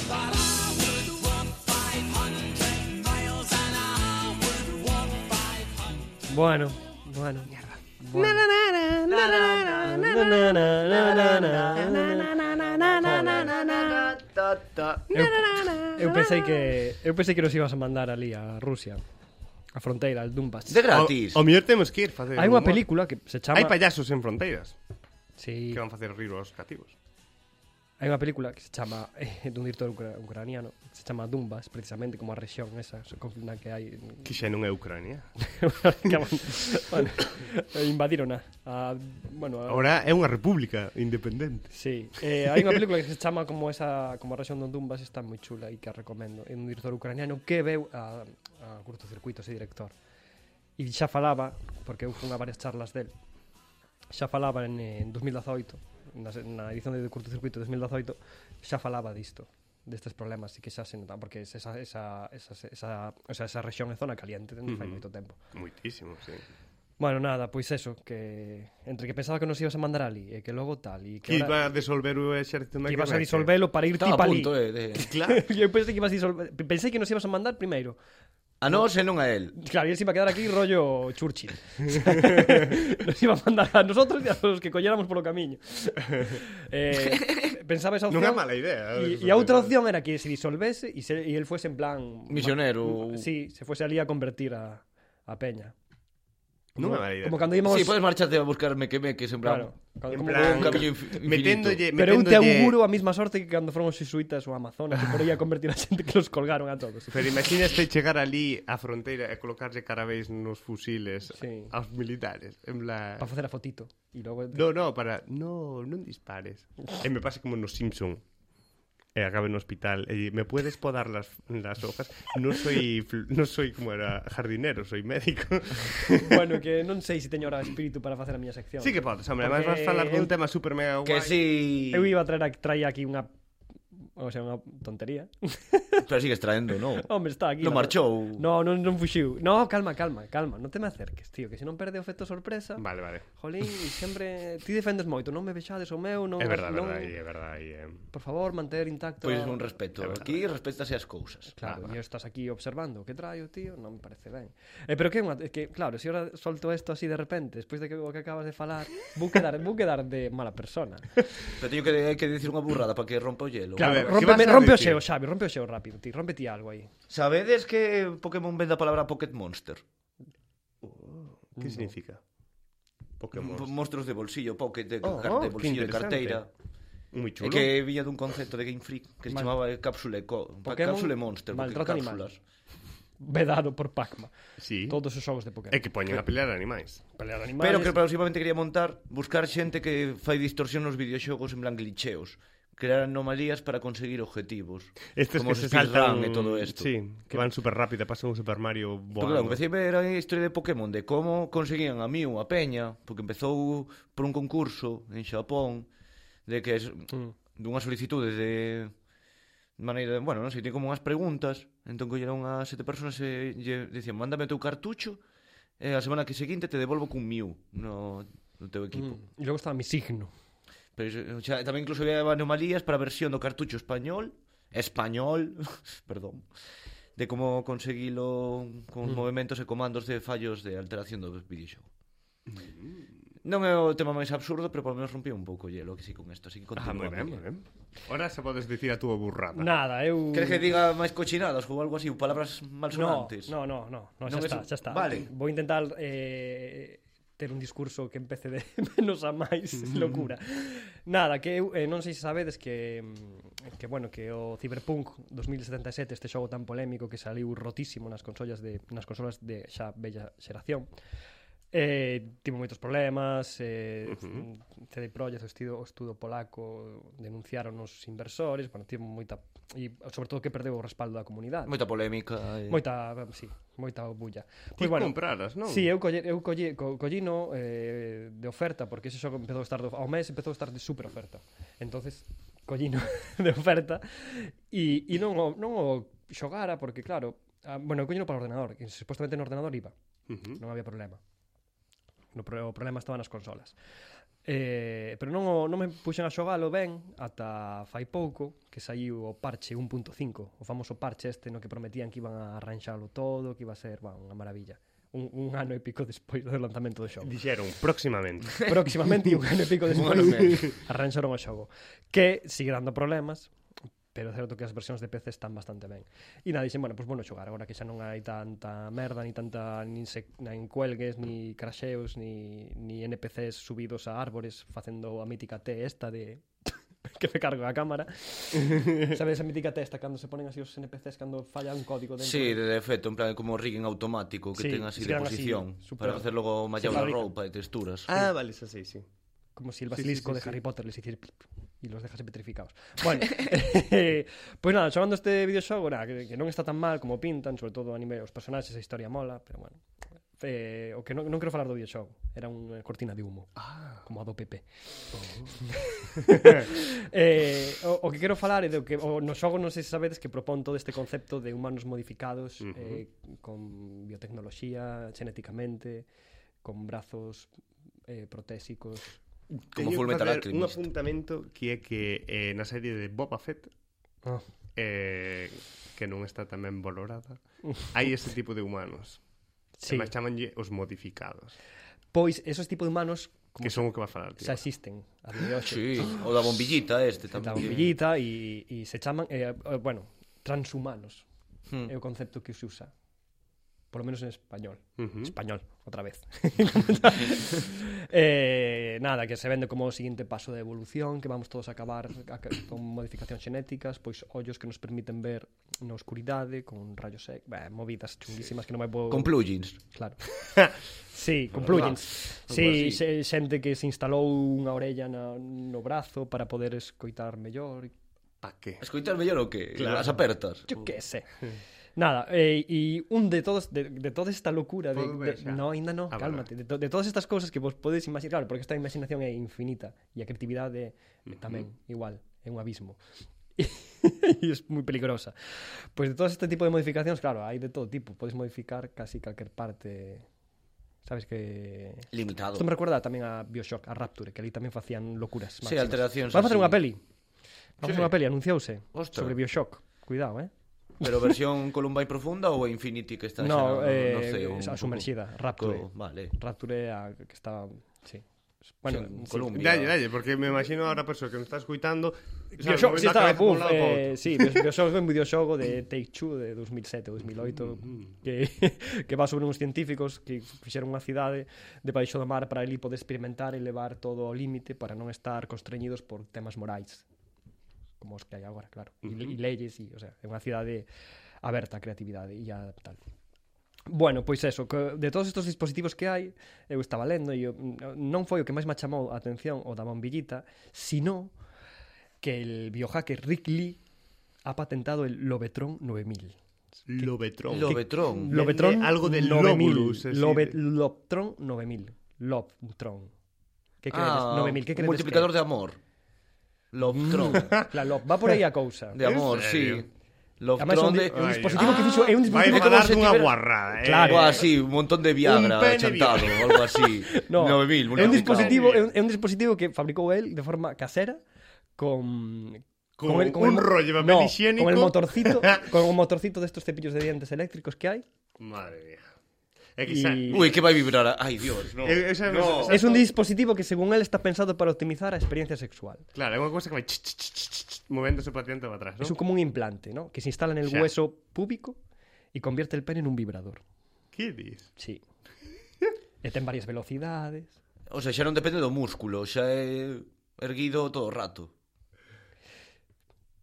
Speaker 4: But I would walk 500 miles and I would walk 500.
Speaker 3: Bueno, bueno. Eu, eu pensei que eu pensei que nos ibas a mandar ali a Rusia, a fronteira, al Donbass.
Speaker 2: De gratis.
Speaker 1: O, o mellor temos que ir facer
Speaker 3: Hai unha
Speaker 1: humor.
Speaker 3: película que se chama
Speaker 1: Hai payasos en fronteiras
Speaker 3: Sí,
Speaker 1: que van facer rir os cativos.
Speaker 3: hai unha película que se chama eh, dun director ucra ucraniano, que se chama Donbass, precisamente como a rexión esa so- con- na que hai
Speaker 1: Que xa non é Ucrania.
Speaker 3: que man- bueno, eh, invadiron a, a bueno, a,
Speaker 1: Ahora é unha república independente.
Speaker 3: Sí, eh, hai unha película que se chama como esa como a rexión do Donbass está moi chula e que a recomendo. É un director ucraniano que veu a, a curtocircuito ese director. E xa falaba, porque eu fun a varias charlas del, xa falaba en, eh, en 2018, na, se- na edición de curtocircuito de 2018, xa falaba disto destes problemas e que xa se notan porque es esa, esa, esa, esa, o sea, esa rexión é zona caliente dende fai moito tempo
Speaker 1: Moitísimo, sí.
Speaker 3: bueno, nada, pois eso que entre que pensaba que nos ibas a mandar ali e que logo tal e que,
Speaker 1: Que
Speaker 3: ahora,
Speaker 1: iba a disolver o exército meque
Speaker 3: que ibas a disolvelo para ir ti
Speaker 2: Estaba a
Speaker 3: pa ali
Speaker 2: punto, eh, de...
Speaker 1: Claro.
Speaker 3: Eu pensei que ibas a disolver... Pensei que nos ibas a mandar primeiro.
Speaker 2: A nós e non a el.
Speaker 3: Claro, e se iba a quedar aquí rollo Churchill. nos iba a mandar a nosotros e a los que colléramos polo camiño. Eh, pensaba esa opción...
Speaker 1: Non é mala idea. eh,
Speaker 3: E a outra opción era que se disolvese e se, e el fuese en plan...
Speaker 2: Misionero.
Speaker 3: Sí, se fuese ali a convertir a, a Peña.
Speaker 1: Non é mala idea.
Speaker 3: Como cando íbamos...
Speaker 2: Sí, podes marcharte a buscarme que me que sembrar.
Speaker 3: Claro. Cando,
Speaker 1: eh. En
Speaker 3: como,
Speaker 1: plan,
Speaker 2: un camiño infi- infinito.
Speaker 1: meténdolle, meténdolle...
Speaker 3: Pero eu te auguro a mesma sorte que cando foron os xisuitas ou Amazonas que por aí a convertir a xente que los colgaron a todos.
Speaker 1: Pero imagínate chegar ali á fronteira e colocarlle carabéis nos fusiles
Speaker 3: Sí.
Speaker 1: aos militares. En plan...
Speaker 3: Para facer a fotito. E logo...
Speaker 1: No, no, para... No, non dispares. e me pasa como nos Simpson. E acabe no hospital. E di, me puedes podar las, las hojas? Non soy, fl- non soy como era jardinero, soy médico.
Speaker 3: Bueno, que non sei se teño ahora espírito para facer a miña sección.
Speaker 1: sí que podes, hombre. Además vas
Speaker 3: Porque
Speaker 1: falar
Speaker 3: eu-
Speaker 1: dun tema super mega guai.
Speaker 2: Que si...
Speaker 3: Eu iba a traer a- traía aquí unha o sea, unha tontería.
Speaker 2: Pero sigues traendo, non?
Speaker 3: Home, está aquí.
Speaker 2: Non
Speaker 3: la-
Speaker 2: marchou.
Speaker 3: No, non, non fuxiu. No, calma, calma, calma. Non te me acerques, tío, que se non perde o efecto sorpresa.
Speaker 1: Vale, vale.
Speaker 3: Jolín, e sempre ti defendes moito, non me vexades o meu, non.
Speaker 1: É verdade, é
Speaker 3: non...
Speaker 1: verdade, é verdade. É...
Speaker 3: Por favor, manter intacto.
Speaker 2: Pois
Speaker 3: a-
Speaker 2: un
Speaker 1: É
Speaker 2: respeto.
Speaker 1: verdade.
Speaker 2: Aquí respectase as cousas.
Speaker 3: Claro,
Speaker 1: Ah,
Speaker 3: e estás aquí observando o que traio, tío, non me parece ben. Eh, pero que é unha, é que claro, se ora solto isto así de repente, despois de que o que acabas de falar, vou quedar, vou quedar de mala persona.
Speaker 2: Pero teño que, hai que dicir unha burrada para que rompa o hielo.
Speaker 1: A
Speaker 3: Claro,
Speaker 1: ver,
Speaker 3: ver,
Speaker 1: ¿qué
Speaker 3: rompe,
Speaker 1: vas a
Speaker 3: rompe o
Speaker 1: decir?
Speaker 3: xeo, Xavi, rompe o xeo rápido, ti, rompe ti algo aí.
Speaker 2: Sabedes que Pokémon ven da palabra Pocket Monster?
Speaker 1: Que significa? Pokémon.
Speaker 2: Monstros, Monstros Mm, de bolsillo, pocket, de,
Speaker 1: Oh,
Speaker 2: car-
Speaker 1: oh,
Speaker 2: de
Speaker 1: que
Speaker 2: bolsillo, de
Speaker 1: interesante.
Speaker 2: carteira.
Speaker 1: Moi
Speaker 2: É
Speaker 1: chulo.
Speaker 2: que viña dun concepto de Game Freak que se
Speaker 3: Mal-
Speaker 2: chamaba eh, cápsule, co, pa-
Speaker 3: Pokémon
Speaker 2: cápsule Monster, porque
Speaker 3: maltrata animal.
Speaker 2: cápsulas.
Speaker 3: Vedado por Pacma.
Speaker 1: Sí.
Speaker 3: Todos os xogos de Pokémon.
Speaker 1: É que poñen a pelear animais.
Speaker 3: pelear animales.
Speaker 2: Pero que próximamente quería montar buscar xente que fai distorsión nos videoxogos en plan glitcheos, crear anomalías para conseguir objetivos.
Speaker 1: Estes
Speaker 2: como
Speaker 1: que se
Speaker 2: os speedrun
Speaker 1: saltan
Speaker 2: e todo isto.
Speaker 1: Sí, que van super rápida, pasan un Super Mario
Speaker 2: Porque claro,
Speaker 1: voando.
Speaker 2: empecé a ver a historia de Pokémon De como conseguían a Mew, a Peña Porque empezou por un concurso En Xapón De que es, dunha solicitude de maneira, de- bueno, non sei, tiña como unhas preguntas, entón colleron a sete persoas e lle dicían, "Mándame o teu cartucho e a semana que seguinte te devolvo cun Mew no, no teu equipo." Mm.
Speaker 3: Mm, E logo estaba mi signo.
Speaker 2: Pero iso- o sea, tamén incluso había anomalías para a versión do cartucho español, español, perdón, de como conseguilo con mm. movimentos e comandos de fallos de alteración do videoxogo. Non é o tema máis absurdo, pero polo menos rompí un pouco o hielo que sí con isto, así que
Speaker 1: Ah, moi
Speaker 2: continúa.
Speaker 1: ben, moi
Speaker 2: Miguel.
Speaker 1: ben. Ora se podes dicir a túa burrada.
Speaker 3: Nada, eu
Speaker 2: Queres que diga máis cochinadas ou algo así, ou palabras malsonantes?
Speaker 3: No, no, no, no, no
Speaker 2: Non
Speaker 3: xa está,
Speaker 2: es-
Speaker 3: xa está.
Speaker 2: Vale.
Speaker 3: Vou intentar eh, ter un discurso que empece de menos a máis locura. Nada, que eu eh, non sei se sabedes que mm, que bueno, que o Cyberpunk 2077, este xogo tan polémico que saliu rotísimo nas consolas de nas consolas de xa bella xeración. Eh, tivo moitos problemas, eh, uh -huh. CD Projekt, o estudo, o estudo polaco, denunciaron os inversores, bueno, tivo moita e sobre todo que perdeu o respaldo da comunidade.
Speaker 2: Moita polémica. eh. E...
Speaker 3: Moita, sí, moita bulla.
Speaker 1: Ti
Speaker 3: Pois
Speaker 1: compraras, Pois non?
Speaker 3: Sí, eu colle, eu colle, co, collino eh, de oferta, porque ese xogo empezou a estar do, ao mes empezou a estar de super oferta. Entonces, collino de oferta e, e non, o, non o xogara, porque claro, ah, bueno, eu collino para o ordenador, que supostamente no ordenador iba,
Speaker 1: Ujú.
Speaker 3: non había problema. No, pro- o problema estaba nas consolas. Eh, pero non, o- non me puxen a xogalo ben ata fai pouco que saiu o parche 1.5 o famoso parche este no que prometían que iban a arranxalo todo, que iba a ser bah, unha maravilla un, un ano e pico despois do lanzamento do xogo
Speaker 1: Dixeron próximamente.
Speaker 3: próximamente un ano e pico despois
Speaker 2: Bueno, ben.
Speaker 3: arranxaron o xogo que sigue dando problemas pero é certo que as versións de PC están bastante ben. E nada, dixen, bueno, pois pues bueno xogar, agora que xa non hai tanta merda, ni tanta nin, se, nin cuelgues, ni crasheos, ni, ni NPCs subidos a árbores facendo a mítica T esta de que me cargo a cámara. Sabes a mítica T esta cando se ponen así os NPCs cando falla un código dentro.
Speaker 2: Sí, de defecto, en plan como rigging automático que
Speaker 3: Sí,
Speaker 2: sí, ten así
Speaker 3: se
Speaker 2: de
Speaker 3: quedan así,
Speaker 2: posición así,
Speaker 3: super-
Speaker 2: para facer logo mallado
Speaker 3: se
Speaker 2: na
Speaker 3: fabrican.
Speaker 2: roupa e texturas.
Speaker 1: Ah, vale, esa sí, sí.
Speaker 3: como si el
Speaker 1: Sí, sí,
Speaker 3: basilisco
Speaker 1: sí,
Speaker 3: de
Speaker 1: sí.
Speaker 3: Harry Potter les hiciera plip, plip, y los dejase petrificados. Bueno, eh, pois nada, xogando este videoxogo, nada, que, que non está tan mal como pintan, sobre todo a nivel os personaxes, a historia mola, pero bueno. Eh, o que non, non quero falar do videoxogo, era unha cortina de humo, ah. como a do PP.
Speaker 1: Oh.
Speaker 3: eh, o, o que quero falar é do que o, no xogo non sei se sabedes que propón todo este concepto de humanos modificados uh -huh. eh, con biotecnoloxía, xenéticamente, con brazos eh, protésicos.
Speaker 2: Como Full Metal
Speaker 1: Un
Speaker 2: Alchemist.
Speaker 1: apuntamento que é que eh, na serie de Boba Fett
Speaker 3: Ah.
Speaker 1: eh, que non está tamén valorada hai ese tipo de humanos sí.
Speaker 3: Sí.
Speaker 1: que chamanlle os modificados
Speaker 3: Pois esos tipos de humanos como
Speaker 1: que son o que vas a falar tío.
Speaker 3: xa existen a día de hoxe.
Speaker 2: Sí, o da bombillita este tamén.
Speaker 3: Da bombillita e e se chaman eh, eh, bueno, transhumanos.
Speaker 2: Hmm.
Speaker 3: É o concepto que se usa. Por lo menos en español.
Speaker 1: Ujú.
Speaker 3: Español, otra vez. eh, nada, que se vende como o siguiente paso de evolución, que vamos todos a acabar a, con modificacións xenéticas, pois ollos que nos permiten ver na oscuridade, con rayos X, bah, movidas chunguísimas sí. que non me vou...
Speaker 2: Con plugins.
Speaker 3: Claro. sí, con plugins. Sí, se, xente que se instalou unha orella na, no brazo para poder escoitar mellor.
Speaker 1: pa que?
Speaker 2: Escoitar mellor o que?
Speaker 1: Claro.
Speaker 2: Claro. As apertas.
Speaker 3: Yo que sé. Nada, eh, e un de todos de, de toda esta locura de,
Speaker 1: Podo ver xa?
Speaker 3: de no, ainda no,
Speaker 1: Ah, vale,
Speaker 3: cálmate, de, to, de todas estas cousas que vos podes imaginar, claro, porque esta imaginación é infinita e a creatividade eh, tamén igual, é un abismo. y es muy peligrosa. Pues de todo este tipo de modificaciones, claro, hay de todo tipo. Podéis modificar casi cualquier parte. ¿Sabes que
Speaker 2: Limitado.
Speaker 3: Esto me recuerda también a Bioshock, a Rapture, que ali tamén facían locuras.
Speaker 2: Sí,
Speaker 3: máximas.
Speaker 2: alteracións
Speaker 3: Vamos a facer
Speaker 2: así.
Speaker 3: unha peli.
Speaker 2: Sí.
Speaker 3: Vamos a facer unha peli, anunciouse.
Speaker 2: Ostras.
Speaker 3: Sobre Bioshock. Cuidado, eh?
Speaker 2: Pero versión Columbine profunda ou a Infinity que está
Speaker 3: No,
Speaker 2: xa,
Speaker 3: eh,
Speaker 2: un
Speaker 3: a
Speaker 2: pouco
Speaker 3: sumerxida,
Speaker 2: co-
Speaker 3: Rapture.
Speaker 2: Vale.
Speaker 3: Rapture é a que estaba... Sí. Bueno,
Speaker 2: Sí,
Speaker 3: sí,
Speaker 2: Columbia.
Speaker 1: Dalle, dalle, porque me imagino ahora a persoa que nos está escuitando
Speaker 3: Bioshock, sí,
Speaker 1: movendo a
Speaker 3: estaba,
Speaker 1: cabeza pa un
Speaker 3: buf,
Speaker 1: lado e pa outro.
Speaker 3: eh, sí, Bios- Bioshock é un videoxogo de Take-Two de 2007
Speaker 1: Mm,
Speaker 3: ou 2008 que, que va sobre uns científicos que fixeron unha cidade debaixo do mar para ali poder experimentar e levar todo ao límite para non estar constreñidos por temas morais como os que hai agora, claro e, e leyes, e, o sea, é unha cidade aberta a creatividade e a tal Bueno, pois eso, que de todos estos dispositivos que hai, eu estaba lendo e eu, mm, non foi o que máis me chamou a atención o da bombillita, sino que el biohacker Rick Lee ha patentado el Lobetron 9000.
Speaker 1: Lobetron.
Speaker 2: Lobetron.
Speaker 1: Lo-
Speaker 3: Lobetron
Speaker 1: Viene algo del
Speaker 3: 9000,
Speaker 1: Lobulus, es
Speaker 3: Lobe-
Speaker 1: decir.
Speaker 3: Lobtron 9000. Lobtron. ¿Qué crees?
Speaker 2: Ah,
Speaker 3: 9000,
Speaker 2: un
Speaker 3: ¿qué crees?
Speaker 2: multiplicador de amor. Lobtron.
Speaker 3: La Lob, va por aí a cousa.
Speaker 2: de
Speaker 1: ¿En
Speaker 2: amor, sí.
Speaker 1: serio?
Speaker 3: Además, é un,
Speaker 2: Lobtron
Speaker 3: di-
Speaker 2: de...
Speaker 3: un
Speaker 1: Ay,
Speaker 3: dispositivo que
Speaker 2: ah,
Speaker 3: fixo, é un
Speaker 1: Vai
Speaker 3: dispositivo que
Speaker 1: falar
Speaker 2: como se
Speaker 1: dunha
Speaker 2: tivera-
Speaker 1: guarrada, eh.
Speaker 3: Claro.
Speaker 2: Algo así, un montón de Viagra
Speaker 1: Un pene
Speaker 2: chantado
Speaker 1: Viagra.
Speaker 2: o algo así.
Speaker 3: No,
Speaker 2: 9000
Speaker 3: é un
Speaker 2: multiplicado.
Speaker 3: dispositivo, é un, é un dispositivo que fabricou el de forma casera con
Speaker 1: Con un
Speaker 3: mo-
Speaker 1: rollo de papel
Speaker 3: no,
Speaker 1: higiénico.
Speaker 3: Con el motorcito, con un motorcito de estos cepillos de dientes eléctricos que hay.
Speaker 1: Madre mía. É que xa-
Speaker 3: Y-
Speaker 2: Ui, que vai vibrar. Ai, Dios, no.
Speaker 1: Eh, esa-
Speaker 2: no.
Speaker 1: esa-
Speaker 3: Es un dispositivo que según él está pensado para optimizar la experiencia sexual.
Speaker 1: Claro, é unha cousa que vai ch, ch, ch, ch, ch, movéndose para diante e para atrás,
Speaker 3: Es
Speaker 1: ¿no?
Speaker 3: un- como un implante, ¿no? Que se instala en el
Speaker 1: Ya.
Speaker 3: hueso púbico y convierte el pene en un vibrador.
Speaker 1: Que dis?
Speaker 3: Sí. E ten varias velocidades.
Speaker 2: O sea, xa non depende do músculo, xa é erguido todo o rato.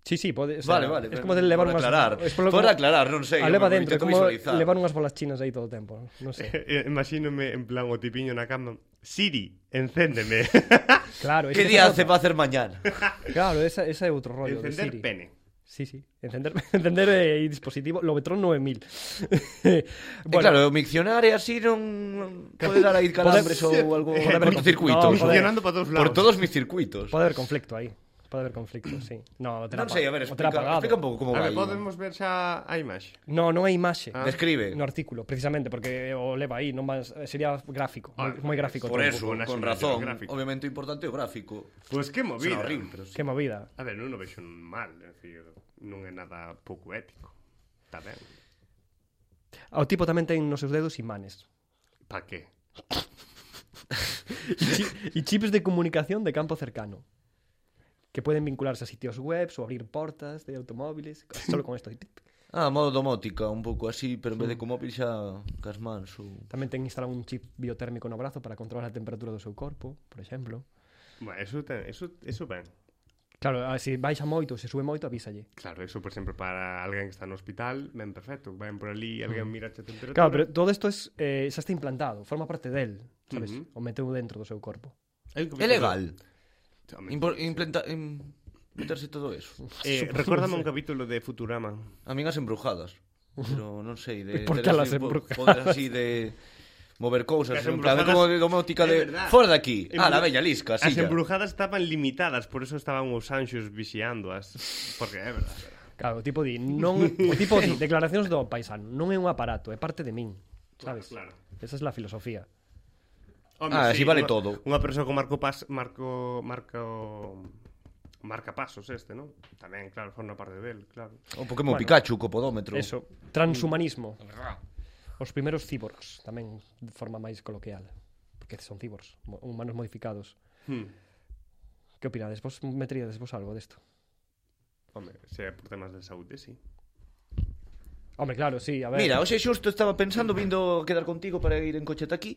Speaker 3: Sí, sí, pode, o sea,
Speaker 2: Vale, vale.
Speaker 3: es como de levar
Speaker 2: por
Speaker 3: unhas
Speaker 2: aclarar.
Speaker 3: es polo
Speaker 2: por
Speaker 3: como-
Speaker 2: aclarar, non sei.
Speaker 3: a leva
Speaker 2: eu me
Speaker 3: dentro, é
Speaker 2: intento
Speaker 3: como
Speaker 2: visualizar.
Speaker 3: levar unhas bolas chinas aí todo o tempo, non sei.
Speaker 1: Eh, Imagínome en plan o tipiño na cama. Siri, encéndeme.
Speaker 3: Claro, es
Speaker 2: Que
Speaker 3: que
Speaker 2: día
Speaker 3: esa é
Speaker 2: se va a hacer mañana?
Speaker 3: outra- Claro, esa, esa é outro rollo de
Speaker 1: Encender
Speaker 3: Siri.
Speaker 1: pene.
Speaker 3: Sí, sí. Encender, encender eh, dispositivo. Lobetron 9000.
Speaker 2: E claro, o miccionario así non pode dar aí calambres
Speaker 3: Pode-
Speaker 2: ou algo
Speaker 3: pode
Speaker 2: pode
Speaker 3: haber-
Speaker 2: cortocircuito.
Speaker 3: No, pode-
Speaker 1: Funcionando para todos lados.
Speaker 2: Por todos mis circuitos.
Speaker 3: Pode haber conflicto aí. Pode haber conflicto, sí. No, te
Speaker 2: Non sei, a ver, explica, explica un pouco como
Speaker 1: A ver,
Speaker 2: vai.
Speaker 1: podemos ver xa a imaxe.
Speaker 3: No, non hai imaxe.
Speaker 1: Ah.
Speaker 2: Describe.
Speaker 3: No artículo, precisamente, porque eh, o leva aí, non vas, eh, sería gráfico,
Speaker 1: Ah,
Speaker 3: moi, moi gráfico.
Speaker 2: Por
Speaker 3: todo.
Speaker 2: eso,
Speaker 1: con
Speaker 2: con
Speaker 1: nacional
Speaker 2: razón.
Speaker 1: geográfico.
Speaker 2: Obviamente o importante é o gráfico.
Speaker 1: Pois que
Speaker 2: Será
Speaker 1: Pues movida.
Speaker 2: horrible, pero sí.
Speaker 3: Que movida.
Speaker 1: A ver, non o vexo mal, é dicir, non é nada pouco ético. Está ben.
Speaker 3: O tipo tamén ten nos seus dedos imanes.
Speaker 1: Pa que?
Speaker 3: E, chi e chips de comunicación de campo cercano que poden vincularse a sitios web ou abrir portas de automóviles solo con esto.
Speaker 2: Ah, modo domótica, un pouco así, pero en vez de como móvil xa cas mans ou...
Speaker 3: Tamén ten instalado un chip biotérmico no brazo para controlar a temperatura do seu corpo, por exemplo.
Speaker 1: Bueno, eso, ten, eso, eso ben.
Speaker 3: Claro, a- se baixa moito, se sube moito, avísalle.
Speaker 1: Claro, eso, por exemplo, para alguén que está no hospital, ben perfecto. Ben por ali, alguén mira a temperatura.
Speaker 3: Claro, pero todo isto es, eh, xa está implantado, forma parte del, sabes?
Speaker 1: Ujú.
Speaker 3: O meteu dentro do seu corpo.
Speaker 1: Hai que
Speaker 2: É legal.
Speaker 1: Home,
Speaker 2: Impor, implenta, im, meterse todo eso.
Speaker 1: Eh, recórdame un capítulo de Futurama.
Speaker 2: A min as embrujadas. Pero non sei, de
Speaker 3: Por
Speaker 2: ter
Speaker 3: que
Speaker 2: así
Speaker 3: las
Speaker 2: un po-
Speaker 3: embrujadas?
Speaker 2: Poder así de mover cousas,
Speaker 1: As
Speaker 2: en plan de
Speaker 1: embrujadas-
Speaker 2: como de
Speaker 1: É
Speaker 2: domótica de
Speaker 1: verdad.
Speaker 2: fora de aquí.
Speaker 1: Embru-
Speaker 2: Ah, la bella
Speaker 1: As
Speaker 2: lisca, así. ya.
Speaker 1: embrujadas estaban limitadas, por eso estaban os anxos vixiándoas. Porque é verdad.
Speaker 3: Claro, o tipo di, non, o tipo di, declaracións do paisano, non é un aparato, é parte de min, sabes?
Speaker 1: Claro.
Speaker 3: Esa é a filosofía.
Speaker 1: Home,
Speaker 2: Ah, así vale
Speaker 1: unha-
Speaker 2: todo.
Speaker 1: Unha persoa con Marco Pas, Marco, Marco marca pasos este, non? Tamén, claro, forma parte del, claro.
Speaker 2: O Pokémon Pikachu, co podómetro.
Speaker 3: Eso, transhumanismo. Os primeiros cyborgs, tamén de forma máis coloquial, porque son cyborgs, mo- humanos modificados.
Speaker 1: Hmm.
Speaker 3: Que opinades? Vos meteríades vos algo desto?
Speaker 1: Home, se é por temas de saúde, sí.
Speaker 3: Hombre, claro, sí, a ver.
Speaker 2: Mira, hoxe xusto estaba pensando vindo quedar contigo para ir en coche ata aquí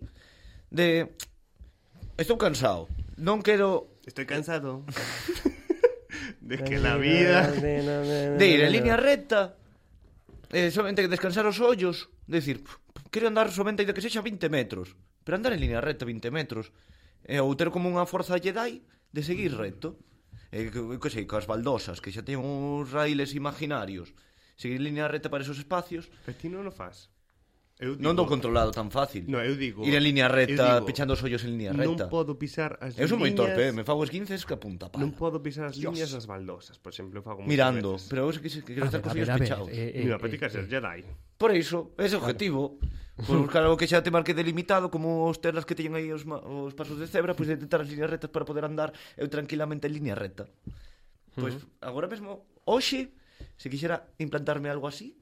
Speaker 2: de Estou cansado. Non quero
Speaker 1: Estoy cansado. de que la vida...
Speaker 2: de ir en línea recta eh, somente descansar os ollos decir, "Pf, pf, quero andar somente de que sexa 20 metros pero andar en línea recta 20 metros eh, ou ter como unha forza Jedi de seguir recto eh, que, que sei, coas baldosas que xa ten uns raíles imaginarios seguir en línea recta para esos espacios
Speaker 1: Pero ti non o faz. eu
Speaker 2: Non dou controlado tan fácil.
Speaker 1: No, eu digo-
Speaker 2: Ir en línea
Speaker 1: eu
Speaker 2: recta,
Speaker 1: digo,
Speaker 2: pechando os ollos en línea
Speaker 1: non
Speaker 2: recta.
Speaker 1: podo pisar as
Speaker 2: eu sou moi
Speaker 1: liñas-
Speaker 2: torpe, eh? me fago esguinces que apunta pala.
Speaker 1: Non podo pisar as
Speaker 2: Dios.
Speaker 1: liñas das baldosas, por exemplo, eu fago moitas
Speaker 2: Mirando,
Speaker 1: veces.
Speaker 2: pero eu que, que quero
Speaker 3: A
Speaker 2: estar
Speaker 3: ver,
Speaker 2: cos
Speaker 3: a
Speaker 2: ollos
Speaker 3: ver, a ver,
Speaker 2: pechados.
Speaker 3: eh, eh,
Speaker 1: Mira, para ti
Speaker 3: eh,
Speaker 1: que ser Jedi.
Speaker 2: Por iso, ese objetivo. Por buscar algo que xa te marque delimitado Como os terras que teñen aí os, ma- os pasos de cebra Pois intentar as líneas rectas para poder andar Eu tranquilamente en línea recta Pois agora mesmo, hoxe Se quixera implantarme algo así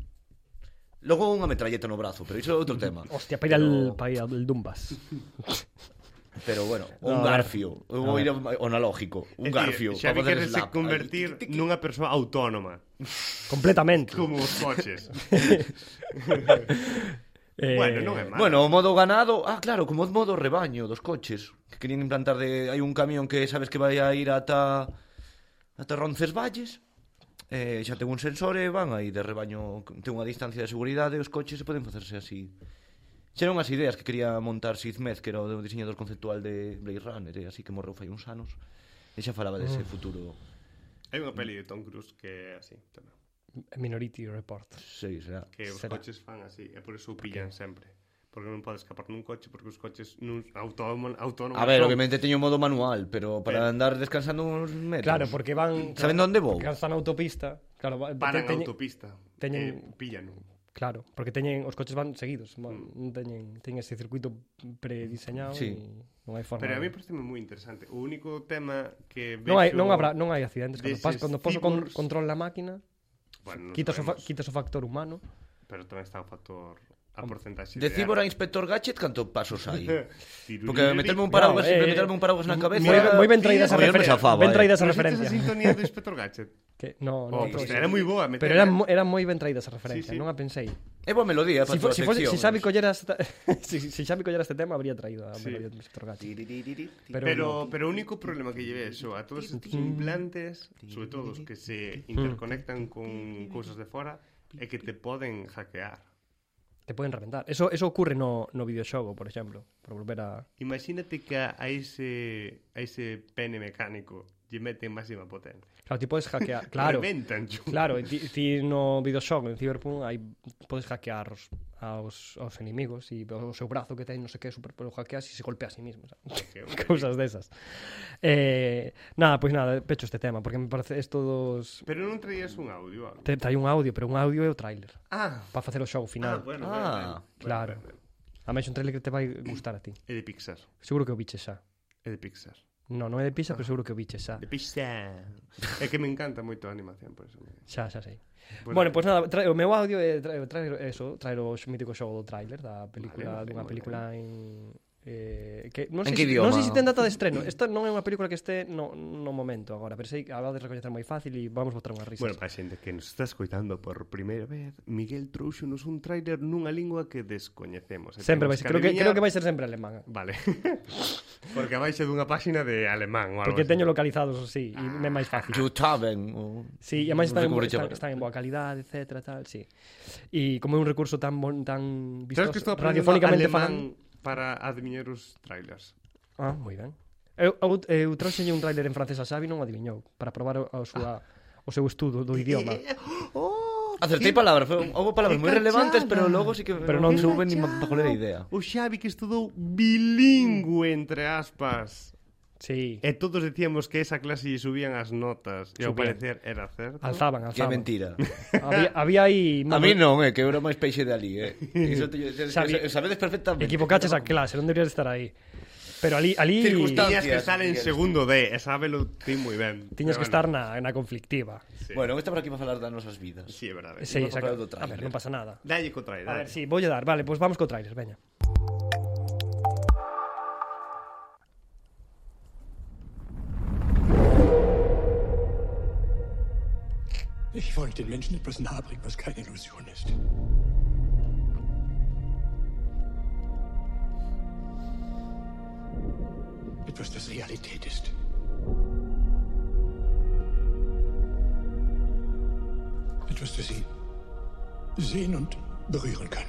Speaker 2: Logo unha metralleta no brazo Pero iso é outro tema
Speaker 3: Hostia, para ir al, para ir al Dumbas.
Speaker 2: Pero bueno,
Speaker 3: No,
Speaker 2: un
Speaker 3: a ver.
Speaker 2: garfio Eu vou ir ao ao analógico
Speaker 1: É
Speaker 2: Un
Speaker 1: dicir,
Speaker 2: garfio
Speaker 1: Xavi
Speaker 2: para facer
Speaker 1: quere se
Speaker 2: slap.
Speaker 1: convertir
Speaker 2: Ay, tic, tic, tic.
Speaker 1: nunha persoa autónoma,
Speaker 3: Completamente.
Speaker 1: como os coches.
Speaker 3: Eh,
Speaker 1: bueno, non é malo.
Speaker 2: Bueno, o modo ganado, ah, claro, como o modo rebaño dos coches que querían implantar de hai un camión que sabes que vai a ir ata ata Roncesvalles. Eh, xa ten un sensor e van aí de rebaño, ten unha distancia de seguridade, os coches se poden facerse así. Xa eran as ideas que quería montar Sizmez, que era o diseñador conceptual de Blade Runner, e así que morreu fai uns anos. E xa falaba
Speaker 3: Mm.
Speaker 2: dese futuro,
Speaker 1: Hai unha peli de Tom Cruise que é así, tamén.
Speaker 3: Minority Report.
Speaker 2: sei, será.
Speaker 1: que os
Speaker 3: Será.
Speaker 1: coches fan así, e por iso o pillan sempre. Porque non podes escapar nun coche, porque os coches nun autónomo, autónomo
Speaker 2: A ver, obviamente teño modo manual, pero para andar descansando uns metros.
Speaker 3: Claro, porque van...
Speaker 2: Saben onde vou?
Speaker 3: Porque están na autopista. Claro, va-
Speaker 1: paran
Speaker 3: te-
Speaker 1: a
Speaker 3: teñen-
Speaker 1: autopista.
Speaker 3: teñen-
Speaker 1: Teñen... Eh, pillan.
Speaker 3: Claro, porque teñen os coches van seguidos,
Speaker 1: Mm.
Speaker 3: van, non teñen teñen ese circuito prediseñado
Speaker 2: Sí.
Speaker 3: sí. e non hai forma.
Speaker 1: Pero a mí
Speaker 3: de-
Speaker 1: parece moi interesante. O único tema que vexo...
Speaker 3: Ah, non hai non habrá non hai accidentes cando
Speaker 1: deses
Speaker 3: pas cando poso con,
Speaker 1: cyborgs-
Speaker 3: control la máquina,
Speaker 1: Bueno, non
Speaker 3: quitas o, fa,
Speaker 1: sabemos,
Speaker 3: quitas o factor humano.
Speaker 1: Pero tamén está o factor a porcentaxe
Speaker 2: De Cibor a Inspector Gadget, canto pasos hai?
Speaker 1: Ciruriri.
Speaker 2: Porque meterme un paraguas,
Speaker 3: No,
Speaker 2: sempre
Speaker 3: eh,
Speaker 2: meterme un paraguas na cabeza.
Speaker 3: Moi ben- moi ben
Speaker 1: tío,
Speaker 3: traída esa
Speaker 2: a mellor me
Speaker 3: referencia.
Speaker 2: zafaba,
Speaker 3: Ben
Speaker 2: eh.
Speaker 3: traída
Speaker 1: Pero
Speaker 3: esa
Speaker 1: sentes
Speaker 3: referencia.
Speaker 1: a sintonía do Inspector Gadget?
Speaker 3: Que no,
Speaker 1: Oh,
Speaker 3: no.
Speaker 1: pues
Speaker 3: sí.
Speaker 1: era moi boa. meter-
Speaker 3: Pero era mo- era moi ben traída esa referencia,
Speaker 1: Sí, sí.
Speaker 3: non a pensei.
Speaker 2: É boa Eh, melodía para si,
Speaker 3: Si,
Speaker 2: toda
Speaker 3: fo,
Speaker 2: a
Speaker 3: si, fose,
Speaker 2: sección.
Speaker 3: si Xavi collera esta, si, si Xavi collera este tema habría traído a
Speaker 1: Sí.
Speaker 3: Melodía do Mr. Gachi.
Speaker 2: Pero...
Speaker 3: Pero,
Speaker 1: Pero, pero o único problema que lleve eso a todos estes implantes, sobre todo os que se interconectan con cousas de fora, é que te poden hackear.
Speaker 3: no, te pueden reventar. Eso eso ocurre no no videoxogo, por exemplo, por volver a
Speaker 1: Imagínate que a a ese, a ese pene mecánico lle meten máxima potencia.
Speaker 3: Claro, ti podes hackear, claro.
Speaker 1: Reventan, chu.
Speaker 3: Claro, e ti, ti no videoxogo en Cyberpunk aí podes hackear os, aos, aos enemigos e o seu brazo que ten non sei que super pero hackeas e se golpea a sí mismo, sabes?
Speaker 1: Que-
Speaker 3: Cousas desas. Eh, nada, pois nada, pecho este tema porque me parece isto dos
Speaker 1: Pero non traías un audio. algo.
Speaker 3: te, hai un audio, pero un audio é o tráiler
Speaker 1: Ah,
Speaker 3: para facer o show
Speaker 1: ah,
Speaker 3: final.
Speaker 1: bueno, bueno, bueno,
Speaker 2: Ah,
Speaker 3: claro.
Speaker 1: bueno, bueno.
Speaker 3: A máis un tráiler que te vai gustar a ti.
Speaker 1: É de Pixar,
Speaker 3: Seguro que o biches xa.
Speaker 1: é de Pixar.
Speaker 3: No, non é de pizza, pero seguro que o biches xa.
Speaker 1: De Pixar. é que me encanta moito a animación, por eso. me-
Speaker 3: Xa, xa sei. Bueno, pois pues nada, trae, o meu audio é traer, traer eso, traer o x- mítico xogo do tráiler da película,
Speaker 1: Vale, vale,
Speaker 3: vale, dunha
Speaker 1: moi
Speaker 3: película en eh, que non
Speaker 2: En
Speaker 3: sei,
Speaker 2: que
Speaker 3: se-
Speaker 2: idioma?
Speaker 3: non sei se ten data de estreno. Esta non é unha película que este no, no momento agora, pero sei que a de recoñecer moi fácil e vamos botar unhas risas.
Speaker 1: Bueno, para a xente que nos está escoitando por primeira vez, Miguel trouxonos un tráiler nunha lingua que descoñecemos. E
Speaker 3: sempre vai
Speaker 1: temos
Speaker 3: ser, creo que
Speaker 1: adiviñar-
Speaker 3: creo que vai ser sempre alemán.
Speaker 1: Vale. Porque vai ser dunha páxina de alemán ou algo
Speaker 3: Porque
Speaker 1: así.
Speaker 3: teño localizados así,
Speaker 1: Ah,
Speaker 3: e me é máis fácil.
Speaker 2: Yutaben. o-
Speaker 3: Sí, e máis
Speaker 2: non sei
Speaker 3: están, en
Speaker 2: como le
Speaker 3: bo- están,
Speaker 2: chaman.
Speaker 3: están en boa calidade, etcétera, tal, sí. E como é un recurso tan bon, tan
Speaker 1: Sabes
Speaker 3: vistoso,
Speaker 1: que estou aprendendo
Speaker 3: radiofónicamente
Speaker 1: alemán para adiviñar os trailers.
Speaker 3: Ah, moi ben. Eu, eu, eu trouxenlle un tráiler en francés a Xavi e non o adiviñou para probar o, a súa,
Speaker 2: Ah.
Speaker 3: o seu estudo do idioma.
Speaker 1: Eh, Oh,
Speaker 2: Acertei palabras, foi- houbo palabras moi relevantes, pero logo sí que
Speaker 3: Pero
Speaker 2: non
Speaker 3: non-
Speaker 2: suben ni pa coler a idea.
Speaker 1: O Xavi que estudou bilingüe entre aspas.
Speaker 3: Sí.
Speaker 1: E todos decíamos que esa clase lle subían as notas e ao
Speaker 3: Subían.
Speaker 1: parecer era certo.
Speaker 3: Alzaban,
Speaker 2: Que
Speaker 3: alzaban.
Speaker 2: mentira.
Speaker 3: Había, había aí...
Speaker 2: A mí non, é que eu era máis peixe de ali, eh. Iso teño-
Speaker 3: Xavi,
Speaker 2: sabedes perfectamente.
Speaker 3: Equivocaches a clase, non deberías estar aí. Pero ali... ali
Speaker 2: Circunstancias.
Speaker 1: Tiñas que estar en
Speaker 2: Miguel.
Speaker 1: segundo D, e sábelo ti moi ben.
Speaker 3: Tiñas que estar
Speaker 1: Pero
Speaker 3: na, na conflictiva.
Speaker 1: Sí.
Speaker 2: Bueno, esta por aquí para falar das nosas vidas.
Speaker 1: bueno, Sí, é verdade.
Speaker 3: Sí,
Speaker 2: Vamos a
Speaker 3: saca,
Speaker 2: falar do
Speaker 3: a ver,
Speaker 2: tráiler.
Speaker 3: non pasa nada.
Speaker 1: Dalle co trailer.
Speaker 3: A ver, sí, voulle dar. Vale, pois pues vamos co tráiler, veña.
Speaker 5: Ich wollte den Menschen etwas nahebringen, was keine Illusion ist. Etwas, das Realität ist. Etwas, das sie sehen und berühren kann.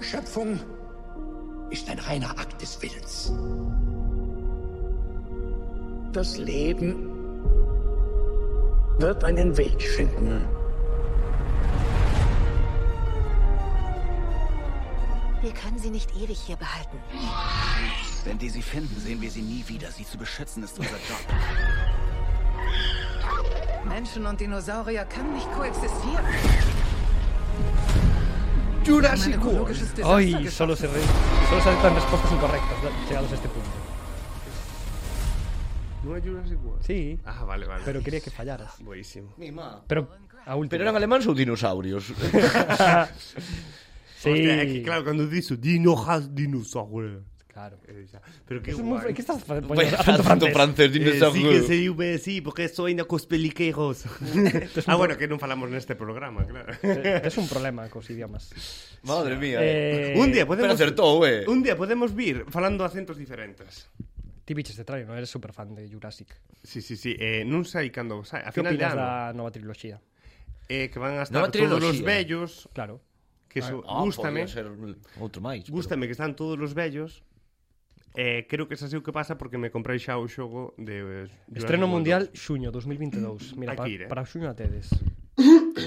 Speaker 5: Schöpfung ist ein reiner Akt des Willens. Das Leben wird einen Weg finden.
Speaker 6: Wir können sie nicht ewig hier behalten.
Speaker 7: Wenn die sie finden, sehen wir sie nie wieder. Sie zu beschützen ist unser Job.
Speaker 8: Menschen und Dinosaurier können nicht koexistieren. Ein
Speaker 7: Jurassic World.
Speaker 8: ökologisches Desaster
Speaker 3: Hoy
Speaker 8: geschaffen.
Speaker 3: solo se re- solo saltan respuestas incorrectas da- llegados a este punto.
Speaker 1: Non é Jurassic World?
Speaker 3: Sí,
Speaker 1: Ah, vale, vale.
Speaker 3: pero quería que fallaras.
Speaker 1: Boísimo.
Speaker 2: Mi má.
Speaker 3: Pero a última.
Speaker 2: Pero eran alemáns ou dinosaurios?
Speaker 3: Sí.
Speaker 1: Hostia, é que claro, cando dixo dinojas dinosaurio.
Speaker 3: Claro.
Speaker 1: Eh, Pues, xa. Pero que
Speaker 3: Eso es muy-
Speaker 1: guai.
Speaker 3: ¿Qué estás poniendo?
Speaker 2: Vaya
Speaker 3: acento francés.
Speaker 2: francés,
Speaker 1: Eh, sí
Speaker 2: dinosaurio.
Speaker 1: que sei UB, sí, porque soy na cos peliqueiros. ah, bueno, que non falamos neste programa, claro.
Speaker 3: Es un problema con los idiomas.
Speaker 2: Madre mía. Eh...
Speaker 3: Eh,
Speaker 1: un día podemos
Speaker 2: Pero acertou, eh.
Speaker 1: Un día podemos vir falando acentos diferentes.
Speaker 3: Ti biches de traio, non eres super fan de Jurassic.
Speaker 1: Sí, sí, sí, eh, non sei cando sai, a
Speaker 3: Que
Speaker 1: final de
Speaker 3: opinas
Speaker 1: ano, da...
Speaker 3: da nova triloxía?
Speaker 1: eh, que van a estar
Speaker 2: Nova
Speaker 1: todos os
Speaker 2: triloxía.
Speaker 1: vellos,
Speaker 3: Claro.
Speaker 1: que so,
Speaker 2: Ah,
Speaker 1: gústame,
Speaker 2: podía ser outro máis. pero-
Speaker 1: gústame que están todos os vellos. Eh, creo que xa sei o que pasa porque me comprei xa o xogo de eh, Jurassic
Speaker 3: Estreno
Speaker 1: World.
Speaker 3: mundial xuño 2022.
Speaker 1: Hai
Speaker 3: Mira, pa,
Speaker 1: que ir, eh.
Speaker 3: para xuño a tedes.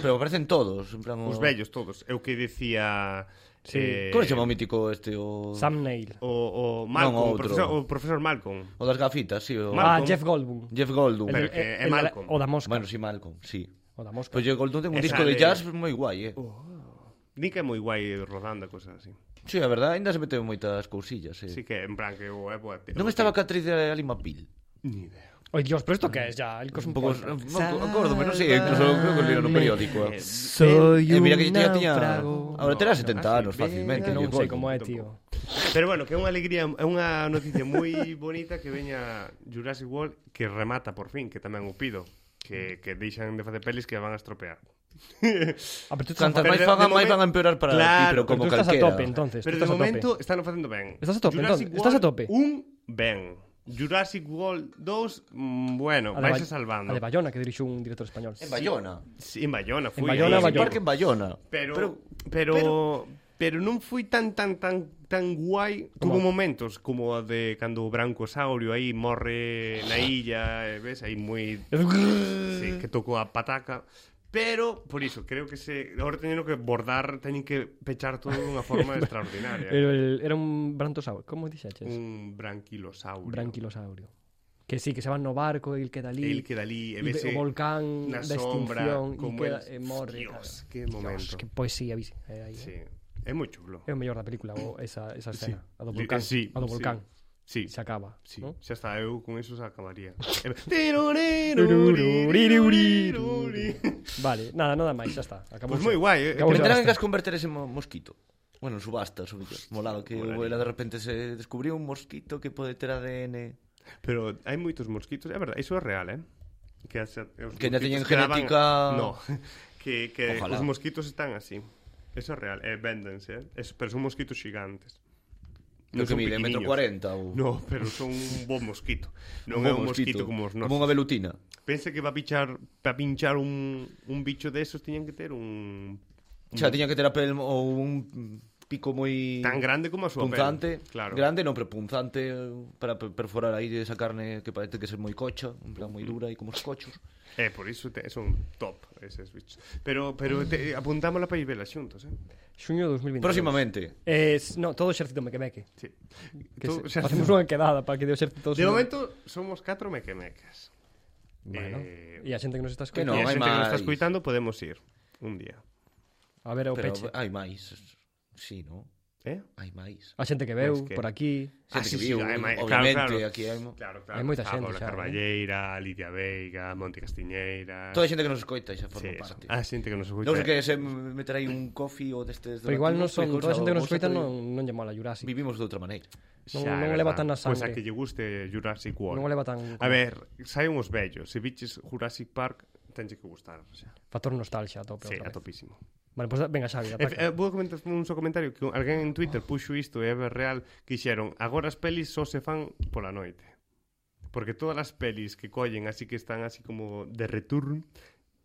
Speaker 2: Pero aparecen todos, en plan... o-
Speaker 1: Os vellos todos, eu que dicía
Speaker 3: Sí.
Speaker 1: eh,
Speaker 2: Como se chama o mítico este? O,
Speaker 3: Sam Neill.
Speaker 1: o, o Oh. Malcolm, o,
Speaker 2: Non, outro.
Speaker 1: profesor, o profesor Malcolm.
Speaker 2: o das gafitas, sí. O...
Speaker 1: Mal-
Speaker 3: Ah,
Speaker 1: Malcolm.
Speaker 3: Jeff Goldblum.
Speaker 2: Jeff Goldblum.
Speaker 1: Pero
Speaker 3: El-
Speaker 1: que é
Speaker 3: el-
Speaker 1: Malcolm.
Speaker 3: O da mosca.
Speaker 2: Bueno, sí, Malcolm, sí.
Speaker 3: O da mosca.
Speaker 2: Pues Jeff Goldblum ten un
Speaker 1: Esa
Speaker 2: disco de
Speaker 1: de- Oh.
Speaker 2: jazz moi guai, eh.
Speaker 1: Din que é moi guai rodando e cosas así.
Speaker 2: Sí, a verdade, ainda se meteu moitas cousillas, eh.
Speaker 1: Sí que en plan que o é boa.
Speaker 2: Non estaba a Catriz de Lima Pil.
Speaker 1: ni idea.
Speaker 3: Oi, Dios, pero isto que es ya? El
Speaker 2: Un pouco,
Speaker 3: Cosmopolitan.
Speaker 2: acórdome, non sei, incluso creo que leron no periódico. eh.
Speaker 3: Soy
Speaker 2: Eh, mira que yo ya tiña...
Speaker 3: náufrago.
Speaker 2: Ahora
Speaker 1: No,
Speaker 2: terá 70
Speaker 1: ah, sí.
Speaker 2: anos facilmente.
Speaker 3: Que non
Speaker 2: Jeff Goldblum.
Speaker 3: sei como é, tío.
Speaker 1: Pero bueno, que é unha alegría, é unha noticia moi bonita que veña Jurassic World que remata por fin, que tamén o pido, que que deixan de facer pelis que van a estropear.
Speaker 3: A ver, Ah, tú estás,
Speaker 2: Cantas
Speaker 1: Pero
Speaker 2: máis
Speaker 1: de-
Speaker 2: fagan,
Speaker 1: de
Speaker 2: máis
Speaker 1: momento-
Speaker 2: van a empeorar para ti,
Speaker 1: Claro,
Speaker 2: pero como
Speaker 3: tú estás a
Speaker 2: calquera.
Speaker 3: tope, entonces.
Speaker 1: Pero
Speaker 3: tú
Speaker 1: de
Speaker 3: estás a tope.
Speaker 1: momento están facendo ben.
Speaker 3: Estás a tope,
Speaker 1: Jurassic
Speaker 3: entón, estás a tope.
Speaker 1: Un ben. Jurassic World 2, mm, bueno,
Speaker 3: A de
Speaker 1: vais
Speaker 3: Ba-
Speaker 1: salvando.
Speaker 3: A de Bayona, que dirixiu un director español.
Speaker 2: En Bayona.
Speaker 1: Sí, en Bayona fui.
Speaker 3: Bayona,
Speaker 1: ahí.
Speaker 2: En
Speaker 3: Bayona.
Speaker 2: parque en Bayona.
Speaker 1: Pero pero, pero non foi tan tan tan tan guai
Speaker 3: Como-
Speaker 1: como momentos como a de cando o brancosaurio aí morre na illa, e ves, aí moi sí, que tocou a pataca. Pero, por iso, creo que se... Ahora teñen que bordar, teñen que pechar todo dunha forma extraordinaria.
Speaker 3: Era, el- era un brantosaurio. Como dixeches?
Speaker 1: Un branquilosaurio.
Speaker 3: Branquilosaurio. Que sí, que se van no barco e el queda
Speaker 1: El
Speaker 3: ali.
Speaker 1: que dalí, e
Speaker 3: e ve-
Speaker 1: vese
Speaker 3: o volcán
Speaker 1: na
Speaker 3: da
Speaker 1: sombra,
Speaker 3: extinción e
Speaker 1: como
Speaker 3: queda,
Speaker 1: el-
Speaker 3: e morre.
Speaker 1: Dios,
Speaker 3: claro.
Speaker 1: que
Speaker 3: Dios,
Speaker 1: momento.
Speaker 3: que poesía, vise. Eh, aí,
Speaker 1: Sí.
Speaker 3: eh.
Speaker 1: É moi chulo.
Speaker 3: É o mellor da película, o, esa, esa escena. A do
Speaker 1: Li-
Speaker 3: volcán.
Speaker 1: eh, sí,
Speaker 3: a do
Speaker 1: sí.
Speaker 3: volcán.
Speaker 1: Sí.
Speaker 3: Se acaba.
Speaker 1: Sí,
Speaker 3: ¿no?
Speaker 1: xa está, eu con eso se acabaría.
Speaker 3: Vale, nada, nada máis, xa está. Acabou.
Speaker 1: Pois moi guai, eh.
Speaker 3: Acabou
Speaker 2: Me
Speaker 3: xa.
Speaker 1: Que-
Speaker 2: enteran
Speaker 3: basta.
Speaker 2: que has converter ese mo- mosquito. Bueno, en subasta, subito. Molaba que ela de repente se descubriu un mosquito que pode ter ADN.
Speaker 1: Pero hai moitos mosquitos, é verdade, iso é real, eh? Que, as, os
Speaker 2: Que ainda
Speaker 1: mosquitos
Speaker 2: teñen
Speaker 1: que daban-
Speaker 2: genética-
Speaker 1: No, que, que
Speaker 2: Ojalá.
Speaker 1: os mosquitos están así. Eso é real, eh, véndense, eh? Es, pero son mosquitos gigantes.
Speaker 2: No que
Speaker 1: son
Speaker 2: mide metro
Speaker 1: pequeniños.
Speaker 2: 40 ou...
Speaker 1: No, pero son un bon mosquito. Non é un mosquito, como os
Speaker 2: Como
Speaker 1: nosos.
Speaker 2: unha velutina.
Speaker 1: Pense que para pinchar, para pinchar un, un bicho desos tiñan que ter un
Speaker 2: Xa, tiña que ter a pel ou un pico moi...
Speaker 1: Mm. tan grande como a súa
Speaker 2: punzante,
Speaker 1: pel. Claro.
Speaker 2: grande, non, pero punzante eh, para per- perforar aí esa carne que parece que ser moi cocha, en plan moi
Speaker 1: Mm.
Speaker 2: dura e como os cochos.
Speaker 1: É, Eh, por iso te, son top eses bichos. Pero, pero te, apuntámola para ir vela xuntos, eh?
Speaker 3: Xuño 2022.
Speaker 2: Próximamente.
Speaker 3: Eh, s- no, todo o exército me quemeque.
Speaker 1: Sí.
Speaker 3: Que
Speaker 1: Tú, xa-
Speaker 3: se, facemos unha quedada para que de o exército... todo
Speaker 1: de
Speaker 3: se-
Speaker 1: momento somos 4 mequemecas.
Speaker 3: Bueno,
Speaker 1: eh,
Speaker 3: e a xente que nos está
Speaker 2: que
Speaker 1: No, e
Speaker 2: No,
Speaker 1: a
Speaker 2: hai
Speaker 3: escoitando,
Speaker 1: xente que nos está
Speaker 2: máis.
Speaker 1: escuitando podemos ir un día.
Speaker 3: A ver o
Speaker 2: Pero
Speaker 3: peche.
Speaker 2: hai máis. Sí, non?
Speaker 1: Eh?
Speaker 2: Hai máis.
Speaker 3: A xente que veu
Speaker 1: Pois que-
Speaker 3: por aquí.
Speaker 1: Ah,
Speaker 2: Xente
Speaker 1: sí,
Speaker 2: que
Speaker 1: sí,
Speaker 2: viu,
Speaker 1: hai máis, claro,
Speaker 2: obviamente,
Speaker 1: claro.
Speaker 2: aquí hai... mo-
Speaker 1: Claro, claro.
Speaker 3: Hai moita
Speaker 1: Ah,
Speaker 3: xente,
Speaker 1: Paula
Speaker 3: xa, eh?
Speaker 1: Carballeira, Lidia Veiga, Monte Castiñeira...
Speaker 2: Toda a xente que nos escoita xa forma
Speaker 1: sí,
Speaker 2: parte.
Speaker 1: A xente que nos escuita.
Speaker 2: Non sei que se meter aí un coffee ou destes...
Speaker 3: Pero igual non son...
Speaker 2: debativos,
Speaker 3: Toda a xente que nos
Speaker 2: outra
Speaker 3: escoita
Speaker 2: cousa,
Speaker 3: non, non lle mola Jurassic.
Speaker 2: Vivimos de outra maneira.
Speaker 3: non- non leva tan na
Speaker 1: Pois a
Speaker 3: sangre.
Speaker 1: que lle guste Jurassic World.
Speaker 3: Non o leva tan-
Speaker 1: A ver, sai uns vellos. Se biches Jurassic Park, tenche que gustar. Xa.
Speaker 3: Factor nostalgia a tope.
Speaker 1: Sí, a eh,
Speaker 3: outra vez.
Speaker 1: topísimo.
Speaker 3: Vale, pois pues, venga,
Speaker 1: E,
Speaker 3: Xavi, ataca.
Speaker 1: e, vou comentar un só comentario que alguén en Twitter puxo isto e é real que dixeron agora as pelis só se fan pola noite. Porque todas as pelis que collen así que están así como de return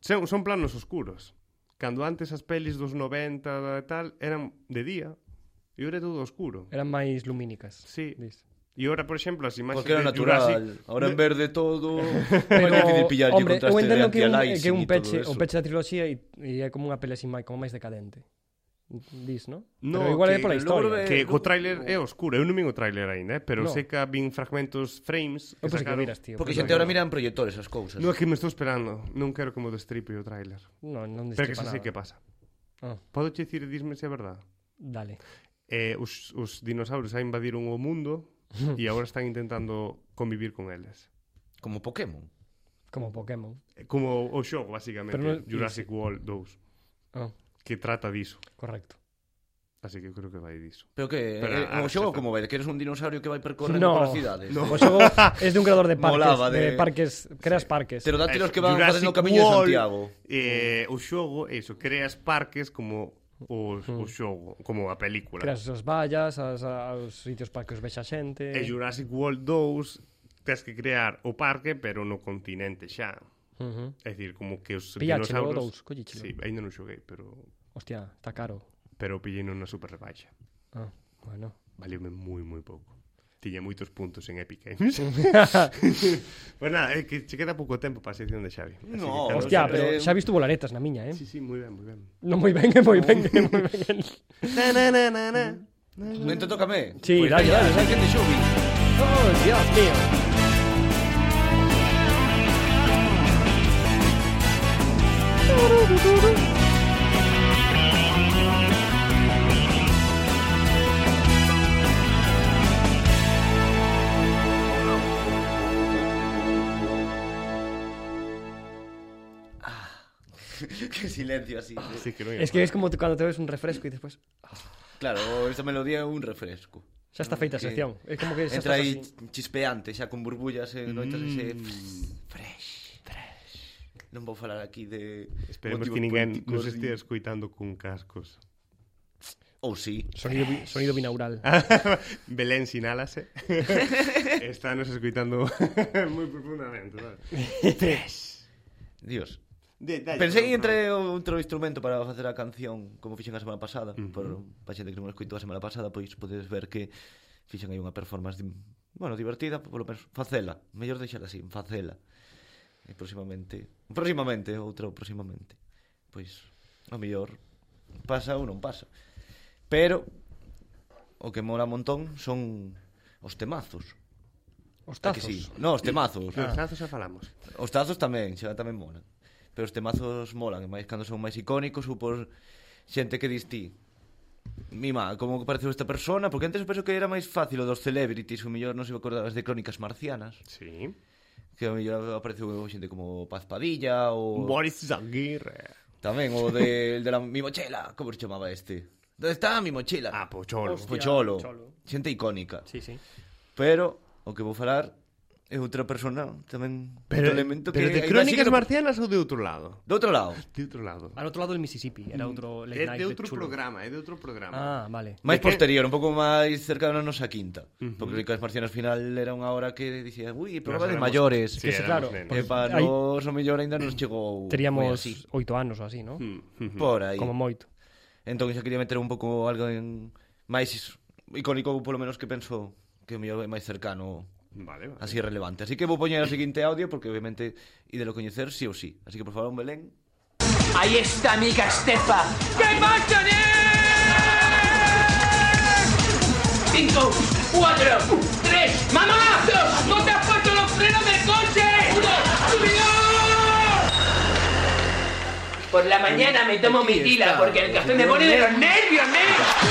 Speaker 1: son, son planos oscuros. Cando antes as pelis dos 90 e tal eran de día e ora é todo oscuro.
Speaker 3: Eran máis lumínicas.
Speaker 1: Sí.
Speaker 3: dis.
Speaker 1: E ora, por exemplo, as imaxes
Speaker 2: Porque era
Speaker 1: de
Speaker 2: natural.
Speaker 1: Jurassic...
Speaker 2: Ahora en verde todo...
Speaker 3: Pero,
Speaker 2: Moi difícil pillarlle
Speaker 3: hombre, eu
Speaker 2: contraste de
Speaker 3: entendo que, un,
Speaker 2: anti-aliasing
Speaker 3: que un
Speaker 2: e todo
Speaker 3: peche,
Speaker 2: eso.
Speaker 3: o peche da triloxía e, e é como unha peli así máis, como máis decadente. Dis, ¿no?
Speaker 1: No,
Speaker 3: Pero igual
Speaker 1: que
Speaker 3: é pola
Speaker 2: logo
Speaker 3: historia.
Speaker 2: de-
Speaker 1: Que
Speaker 2: Eh,
Speaker 1: o tráiler é oscuro, eu non vin o tráiler aínda, eh, pero
Speaker 3: No.
Speaker 1: sei que vin fragmentos, frames
Speaker 3: Eu
Speaker 1: que
Speaker 3: pensei que
Speaker 1: sacaron.
Speaker 3: miras, tío.
Speaker 2: Porque
Speaker 3: pensei
Speaker 2: xente ahora mira en proyectores as cousas.
Speaker 1: No, é que me estou esperando, non quero que me destripe o tráiler.
Speaker 3: que- No,
Speaker 1: Pero que
Speaker 3: non
Speaker 1: xa
Speaker 3: destripa
Speaker 1: sei
Speaker 3: nada.
Speaker 1: que pasa.
Speaker 3: Ah.
Speaker 1: Podo che dicir, disme se é verdade.
Speaker 3: Dale.
Speaker 1: Eh, os, os dinosaurios xa invadiron o mundo e agora están intentando convivir con eles.
Speaker 2: Como Pokémon.
Speaker 3: Como Pokémon.
Speaker 1: Eh, Como o xogo, basicamente,
Speaker 3: Pero non-
Speaker 1: Jurassic World 2,
Speaker 3: Ah,
Speaker 1: que trata diso.
Speaker 3: correcto.
Speaker 1: Así que eu creo que vai diso.
Speaker 2: Pero que
Speaker 1: Pero,
Speaker 2: Pero, eh,
Speaker 1: ah,
Speaker 2: o xogo
Speaker 1: xa está.
Speaker 2: como vai, que eres un dinosaurio que vai percorrendo
Speaker 3: No.
Speaker 2: polas cidades.
Speaker 3: O xogo es de un creador de parques,
Speaker 2: Molaba
Speaker 3: de...
Speaker 2: de-
Speaker 3: parques, creas parques.
Speaker 2: Pterodáctilos
Speaker 1: Eh,
Speaker 2: que van
Speaker 1: Jurassic
Speaker 2: facendo o camiño de
Speaker 1: World,
Speaker 2: Santiago.
Speaker 1: Eh, o xogo, é iso, creas parques como o, o xogo, como a película.
Speaker 3: Mm. Creas as vallas, as, aos sitios para que os vexa xente.
Speaker 1: E Jurassic World 2 tens que crear o parque, pero no continente xa.
Speaker 3: Ujú.
Speaker 1: É dicir, como que os
Speaker 3: Pilláchelo
Speaker 1: dinosaurios...
Speaker 3: o dous, collíchelo.
Speaker 1: Sí, ainda non xoguei, pero
Speaker 3: Hostia, está caro.
Speaker 1: pero pillei nunha super rebaixa.
Speaker 3: Ah, bueno.
Speaker 1: Valeume moi, moi pouco. Tiña moitos puntos en Epic Games. pues nada, é que che queda pouco tempo para a sección de Xavi. Así que
Speaker 2: No,
Speaker 1: cando
Speaker 3: Hostia,
Speaker 1: se-
Speaker 2: sé.
Speaker 3: pero
Speaker 2: Eh,
Speaker 3: xa visto volaretas na miña, eh?
Speaker 1: Sí, sí, moi ben, moi ben.
Speaker 3: Non moi ben, eh, moi ben, eh, moi ben.
Speaker 1: Na, na, na, na, na.
Speaker 2: Mente tócame.
Speaker 3: Sí,
Speaker 2: Pois
Speaker 3: dale,
Speaker 2: venga,
Speaker 3: dale,
Speaker 2: sei
Speaker 3: dale.
Speaker 2: que te xubi.
Speaker 3: Oh, Dios mío.
Speaker 2: que silencio así.
Speaker 1: Ah, Sí, que non é
Speaker 3: Es que es como cuando te ves un refresco y después
Speaker 2: Claro, esta melodía é un refresco.
Speaker 3: xa está feita a
Speaker 2: Que
Speaker 3: sección. É como que xa
Speaker 2: Entra
Speaker 3: estás
Speaker 2: aí
Speaker 3: así. Mm.
Speaker 2: chispeante, xa con burbullas e noitas ese fresh, fresh. Non vou falar aquí de
Speaker 1: Esperemos
Speaker 2: motivos
Speaker 1: que ninguén
Speaker 2: políticos
Speaker 1: nos estea
Speaker 2: ni-
Speaker 1: escoitando con cascos.
Speaker 2: Ou si.
Speaker 3: Sonido, bi- sonido binaural.
Speaker 1: Belén, sinálase. Está nos escoitando moi profundamente. Vale.
Speaker 2: Dios.
Speaker 1: De, de,
Speaker 2: Pensei en entre outro instrumento para facer a canción como fixen a semana pasada, uh -huh. por pa xente que non escoitou a semana pasada, pois podedes ver que fixen aí unha performance di- bueno, divertida, polo menos facela, mellor deixar así, facela. E próximamente, próximamente, outra próximamente. Pois o mellor pasa ou non pasa. Pero o que mola montón son os temazos.
Speaker 3: Os
Speaker 2: A que sí.
Speaker 3: tazos.
Speaker 2: No, os temazos.
Speaker 1: Os tazos xa falamos.
Speaker 2: Os tazos tamén, xa tamén molan. Pero os temazos molan, e máis cando son máis icónicos ou por xente que dis ti. Mima, como que pareceu esta persona? Porque antes eu penso que era máis fácil o dos celebrities, o mellor non se me acordabas de crónicas marcianas,
Speaker 1: Sí.
Speaker 2: que o mellor apareceu xente como Paz Padilla ou
Speaker 1: Boris Zaguirre.
Speaker 2: tamén o de, el de la mi mochila, como se chamaba este? Onde está mi mochila?
Speaker 1: Ah, pocholo.
Speaker 3: Hostia.
Speaker 2: Pocholo.
Speaker 3: Cholo.
Speaker 2: Xente icónica.
Speaker 3: Sí, sí.
Speaker 2: Pero o que vou falar é outra persona tamén outro elemento
Speaker 1: pero de
Speaker 2: que aínda
Speaker 1: crónicas
Speaker 2: así que non-
Speaker 1: marcianas ou de outro lado?
Speaker 2: Do outro lado.
Speaker 1: De outro lado.
Speaker 3: Al otro lado del Mississippi, era outro Ah,
Speaker 1: É
Speaker 3: late night
Speaker 1: de outro
Speaker 3: chulo.
Speaker 1: programa, é de outro programa.
Speaker 3: Ah, vale.
Speaker 2: Máis
Speaker 1: De que-
Speaker 2: posterior, un pouco máis cercano a nosa quinta. Uh -huh. Porque Ricas Marcianas final era unha hora que dicía, ui, programa de
Speaker 1: éramos-
Speaker 2: maiores.
Speaker 1: Sí, Pues
Speaker 3: que
Speaker 1: éramos
Speaker 3: se, claro,
Speaker 1: nenos.
Speaker 2: Que Eh,
Speaker 3: porque
Speaker 2: para
Speaker 3: aí
Speaker 2: nós o mellor aínda nos chegou moi
Speaker 3: teríamos
Speaker 2: así,
Speaker 3: oito anos ou así, ¿no?
Speaker 1: Mm.
Speaker 2: por aí.
Speaker 3: Como moito.
Speaker 2: Entón xa quería meter un pouco algo en máis is- icónico, polo menos que penso que o mellor é máis cercano
Speaker 1: mm. Vale, vale.
Speaker 2: así relevante. Así que vou poñer o seguinte audio porque obviamente ide lo coñecer sí ou sí. Así que por favor, un Belén,
Speaker 4: Ahí está amiga Estefa. ¡Que marcha Cinco, cuatro, tres. ¡Mamá! ¡No te has puesto los frenos del coche! Por la mañana me tomo mi tila porque el café me pone de los nervios, ¿eh?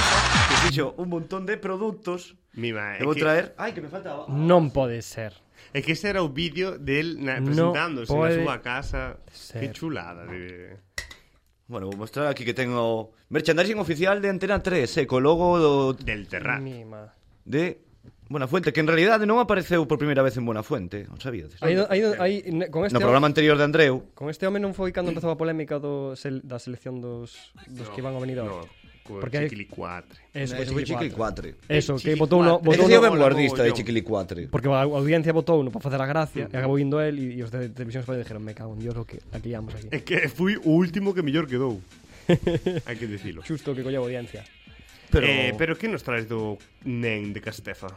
Speaker 2: que fixo un montón de produtos
Speaker 1: Mima, é
Speaker 2: que vou
Speaker 1: que-
Speaker 2: traer. Ai, que me faltaba.
Speaker 3: Non pode ser.
Speaker 1: É que ese era o vídeo del na,
Speaker 3: No
Speaker 1: presentándose na
Speaker 3: pode
Speaker 1: súa casa.
Speaker 3: ser.
Speaker 1: Que chulada. De...
Speaker 2: Bueno, vou mostrar aquí que tengo merchandising oficial de Antena 3, eh, co logo do,
Speaker 1: Del Terrat.
Speaker 3: Mima.
Speaker 2: de Buenafuente, que en realidade non apareceu por primeira vez en Buenafuente, non sabíades?
Speaker 3: Aí, do- aí, do- aí, ne- con este
Speaker 2: No programa anterior de Andreu,
Speaker 3: home- con este home non foi cando empezou a polémica do sel, da selección dos, dos que iban ao venidor.
Speaker 1: No, co
Speaker 3: Porque hai-
Speaker 1: Chiquili 4.
Speaker 3: Eso,
Speaker 2: ese foi Chiquili 4.
Speaker 3: Eso, que
Speaker 1: Chiquili
Speaker 3: botou no,
Speaker 1: cuatro.
Speaker 2: Ese
Speaker 3: botou
Speaker 2: sí é
Speaker 3: no,
Speaker 2: o ben
Speaker 1: Hola,
Speaker 2: guardista eh, de
Speaker 1: mogollón.
Speaker 2: Chiquili 4.
Speaker 3: porque a audiencia botou no para facer a gracia, e acabou indo el e, e os de televisión española dijeron, me cago en Dios, o que aquí íamos aquí.
Speaker 1: É
Speaker 2: Eh,
Speaker 1: que fui o último que mellor quedou. Hai que dicilo.
Speaker 3: Xusto que colleu audiencia.
Speaker 2: Pero,
Speaker 1: Eh, pero
Speaker 2: pero...
Speaker 1: que nos traes do Nen de Castefa?
Speaker 3: Ah.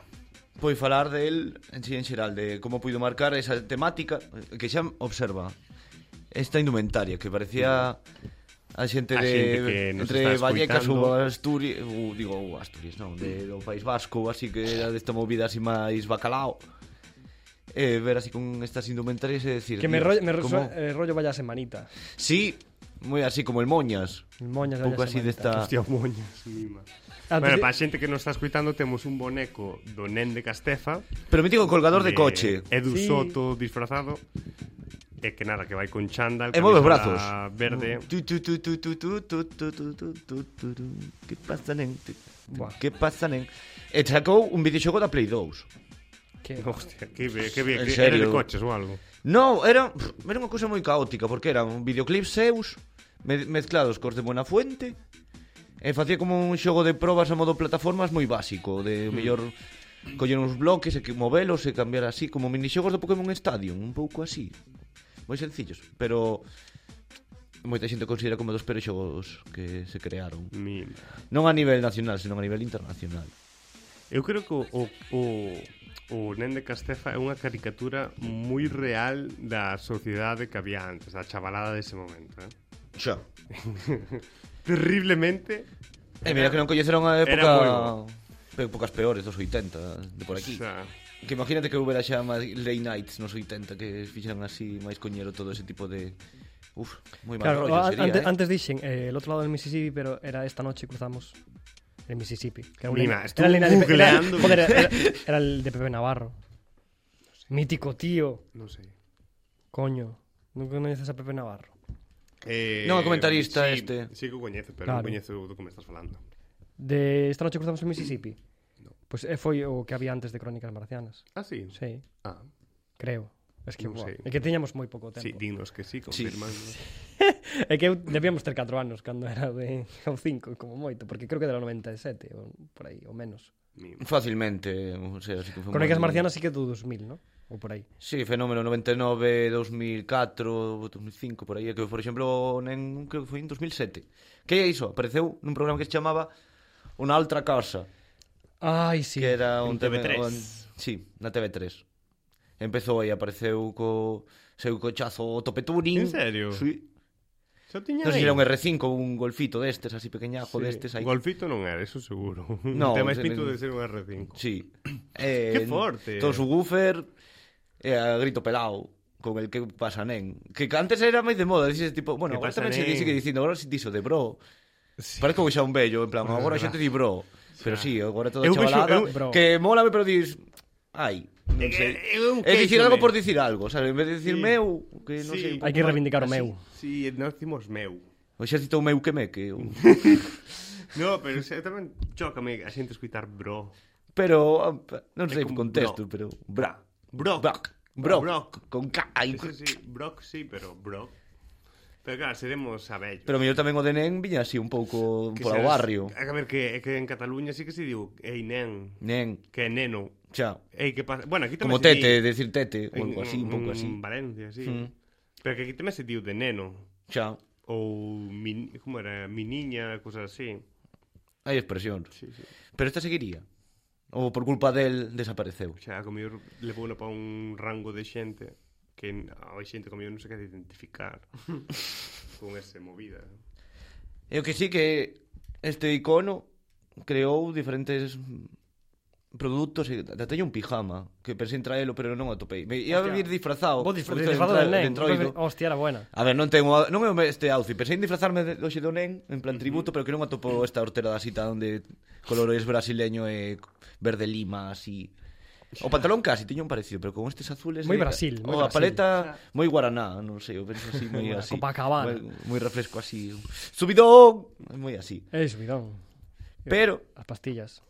Speaker 2: Pois falar del en sí en xeral, de como puido marcar esa temática, eh, que xa observa esta indumentaria, que parecía A xente
Speaker 1: A
Speaker 2: de
Speaker 1: xente que nos
Speaker 2: entre
Speaker 1: está
Speaker 2: Vallecas
Speaker 1: escoitando.
Speaker 2: ou Asturias, ou, digo, ou Asturias, non, de, do País Vasco, así que era desta movida así máis bacalao. Eh, ver así con estas indumentarias e decir
Speaker 3: Que me,
Speaker 2: "Dios,
Speaker 3: rollo, me ro-
Speaker 2: como-
Speaker 3: eh, rollo vaya semanita.
Speaker 2: Sí, moi así como el Moñas.
Speaker 3: El Moñas
Speaker 2: Un pouco
Speaker 3: vaya
Speaker 2: así
Speaker 3: semanita.
Speaker 2: desta...
Speaker 1: Hostia, moñas.
Speaker 3: Antes
Speaker 1: Bueno,
Speaker 3: de-
Speaker 1: para a xente que nos está escuitando temos un boneco do Nen de Castefa eh,
Speaker 2: Pero mítico colgador de coche.
Speaker 1: Edu
Speaker 3: Sí.
Speaker 1: Soto disfrazado E que nada, que vai con chándal
Speaker 2: E move os
Speaker 1: camisola
Speaker 2: brazos.
Speaker 1: Verde
Speaker 2: Tu, tu, tu, tu, tu, tu, tu, tu, tu, tu, tu, tu, tu. Que pasa nen? Tu, tu,
Speaker 3: Buah.
Speaker 2: Que pasa nen? E sacou un videoxogo da Play 2.
Speaker 3: Que...
Speaker 1: Hostia, que be, que be,
Speaker 2: En
Speaker 1: que era
Speaker 2: serio.
Speaker 1: de coches ou algo
Speaker 2: No, era, pff, era unha cousa moi caótica Porque eran videoclips seus me- Mezclados cos de Buenafuente E facía como un xogo de probas A modo plataformas moi básico De mellor coller uns bloques E que movelos e cambiar así Como minixogos do Pokémon Stadium Un pouco así Moi sencillos Pero moita xente considera como dos perexogos que se crearon
Speaker 1: Mi...
Speaker 2: Non a nivel nacional, senón a nivel internacional
Speaker 1: Eu creo que o, o, o, o Nen de Castefa é unha caricatura moi real da sociedade que había antes Da chavalada dese momento eh?
Speaker 2: Xa
Speaker 1: Terriblemente
Speaker 2: E Eh, mira que non coñeceron a
Speaker 1: Era
Speaker 2: época
Speaker 1: moi bo.
Speaker 2: Épocas peores dos 80 De por aquí
Speaker 1: xa,
Speaker 2: Que imagínate que houbera xa máis late nights nos 80 que fixeran así máis coñero todo ese tipo de Uf, moi mal
Speaker 3: Claro,
Speaker 2: rollo
Speaker 3: a-
Speaker 2: sería,
Speaker 3: antes,
Speaker 2: eh?
Speaker 3: antes dixen eh, el outro lado del Mississippi, pero era esta noche cruzamos el Mississippi. Que era
Speaker 1: Mima,
Speaker 3: era
Speaker 1: estuve
Speaker 3: el de- era-
Speaker 1: googleando.
Speaker 3: joder, era, era el de Pepe Navarro. Mítico tío,
Speaker 1: non sei
Speaker 3: coño. Non coñeces a Pepe Navarro.
Speaker 1: Eh,
Speaker 2: Non, o comentarista
Speaker 1: sí,
Speaker 2: este.
Speaker 1: Sí que o coñezo, pero
Speaker 3: Claro.
Speaker 1: non coñezo do que me estás falando
Speaker 3: De esta noche cruzamos el Mississippi. Pois pues, eh, foi o que había antes de Crónicas Marcianas.
Speaker 1: Ah, sí?
Speaker 3: Sí,
Speaker 1: Ah,
Speaker 3: creo. Es que,
Speaker 1: Non
Speaker 3: buah,
Speaker 1: sei.
Speaker 3: é que teñamos moi pouco tempo.
Speaker 1: sí, dinos que sí, confirman sí.
Speaker 3: É que eu debíamos ter 4 anos cando era de ou 5 como moito, porque creo que era o 97 ou por aí, ou menos.
Speaker 2: Fácilmente, o sea, así que foi
Speaker 3: Crónicas
Speaker 2: moi-
Speaker 3: Marcianas sí que do 2000, ¿no? Ou por aí.
Speaker 2: Sí, fenómeno 99, 2004, 2005, por aí é que, por exemplo, nen, creo que foi en 2007 Que é iso? Apareceu nun programa que se chamaba Unha outra casa
Speaker 3: Ai, sí.
Speaker 2: que era un
Speaker 1: en TV3.
Speaker 2: tema- un- sí, na TV3. Empezou aí, apareceu co seu cochazo o Topeturing.
Speaker 1: En serio?
Speaker 2: Sí.
Speaker 1: Xa tiña
Speaker 2: Non sei
Speaker 1: aí.
Speaker 2: se era un R5 ou un golfito destes, así pequeñajo
Speaker 1: Sí.
Speaker 2: destes aí.
Speaker 1: Golfito non era, eso seguro no,
Speaker 2: No,
Speaker 1: Tema
Speaker 2: se-
Speaker 1: espírito de ser un R5
Speaker 2: Sí. Eh,
Speaker 1: Que forte.
Speaker 2: Todo su woofer e eh, a grito pelao con el que pasa nen. Que que antes era máis de moda, dices tipo, bueno,
Speaker 1: Que
Speaker 2: agora
Speaker 1: pasa
Speaker 2: tamén se
Speaker 1: nen.
Speaker 2: dice que dicindo, agora se dixo de bro. Sí. Parece como xa un bello, en plan, agora a xente di bro. Pero sí, agora toda
Speaker 1: Eu vexo-
Speaker 2: chavalada,
Speaker 1: eu- Eh,
Speaker 3: Bro.
Speaker 2: que mola, pero dis, ai, non sei.
Speaker 1: eu
Speaker 2: É dicir
Speaker 1: queixome.
Speaker 2: algo por dicir algo, sabes? En vez de dicir
Speaker 1: Sí.
Speaker 2: meu, que non
Speaker 1: Sí.
Speaker 2: sei. un
Speaker 3: Hai
Speaker 2: pouco
Speaker 3: que
Speaker 2: máis,
Speaker 3: reivindicar o
Speaker 2: así.
Speaker 3: meu.
Speaker 1: Si, sí, nós dicimos meu
Speaker 2: O exército meu que me, que... eu-
Speaker 1: No, pero se, tamén chocame a xente escuitar bro
Speaker 2: Pero ah, pa- non sei o
Speaker 1: como
Speaker 2: contexto, pero bra.
Speaker 1: Brock.
Speaker 2: Brock. Brock.
Speaker 1: Brock.
Speaker 2: Con K. Ai,
Speaker 1: Ese sí, Brock sí, pero bro Pero claro, seremos a bello
Speaker 2: Pero mellor tamén o de Nen viña así un pouco
Speaker 1: Que
Speaker 2: por o
Speaker 1: serás-
Speaker 2: barrio.
Speaker 1: A ver, que, que en Cataluña sí que se diu Ei, nen,
Speaker 2: Nen,
Speaker 1: que neno
Speaker 2: xa.
Speaker 1: Ei, que pasa Bueno, aquí tamén
Speaker 2: Como
Speaker 1: se di-
Speaker 2: tete, decir tete, ou algo así, un pouco
Speaker 1: en
Speaker 2: así.
Speaker 1: Valencia, sí.
Speaker 2: Mm.
Speaker 1: Pero que aquí tamén se diu de neno
Speaker 2: Xa.
Speaker 1: ou mi, como era, mi niña, cosas así.
Speaker 2: Hai expresión.
Speaker 1: Sí, sí.
Speaker 2: Pero esta seguiría. Ou por culpa del desapareceu.
Speaker 1: O sea, como eu levou para un rango de xente que hai xente como eu non se quer identificar con ese movida.
Speaker 2: E o que sí que este icono creou diferentes produtos e da teño un pijama que pensei en traelo pero non o atopei. Me ia vir disfrazado.
Speaker 3: Vos disfr-
Speaker 2: porque
Speaker 3: disfrazado
Speaker 2: entra-
Speaker 3: del nen.
Speaker 2: de entroido.
Speaker 3: Hostia, era buena.
Speaker 2: A ver, non tengo non é o me- este outfit, pensei en disfrazarme de hoxe do nen en plan tributo, pero que non atopo esta hortera da cita onde colores brasileño e verde lima así. O pantalón casi tiño un parecido, pero con estes azules
Speaker 3: Moi
Speaker 2: de-
Speaker 3: Brasil, moi
Speaker 2: O a
Speaker 3: Brasil.
Speaker 2: paleta moi guaraná, non sei, eu penso así moi
Speaker 3: Moi
Speaker 2: así.
Speaker 3: Copacabana.
Speaker 2: Moi, moi refresco así. Subidón, moi así.
Speaker 3: É subidón.
Speaker 2: Pero
Speaker 3: As pastillas.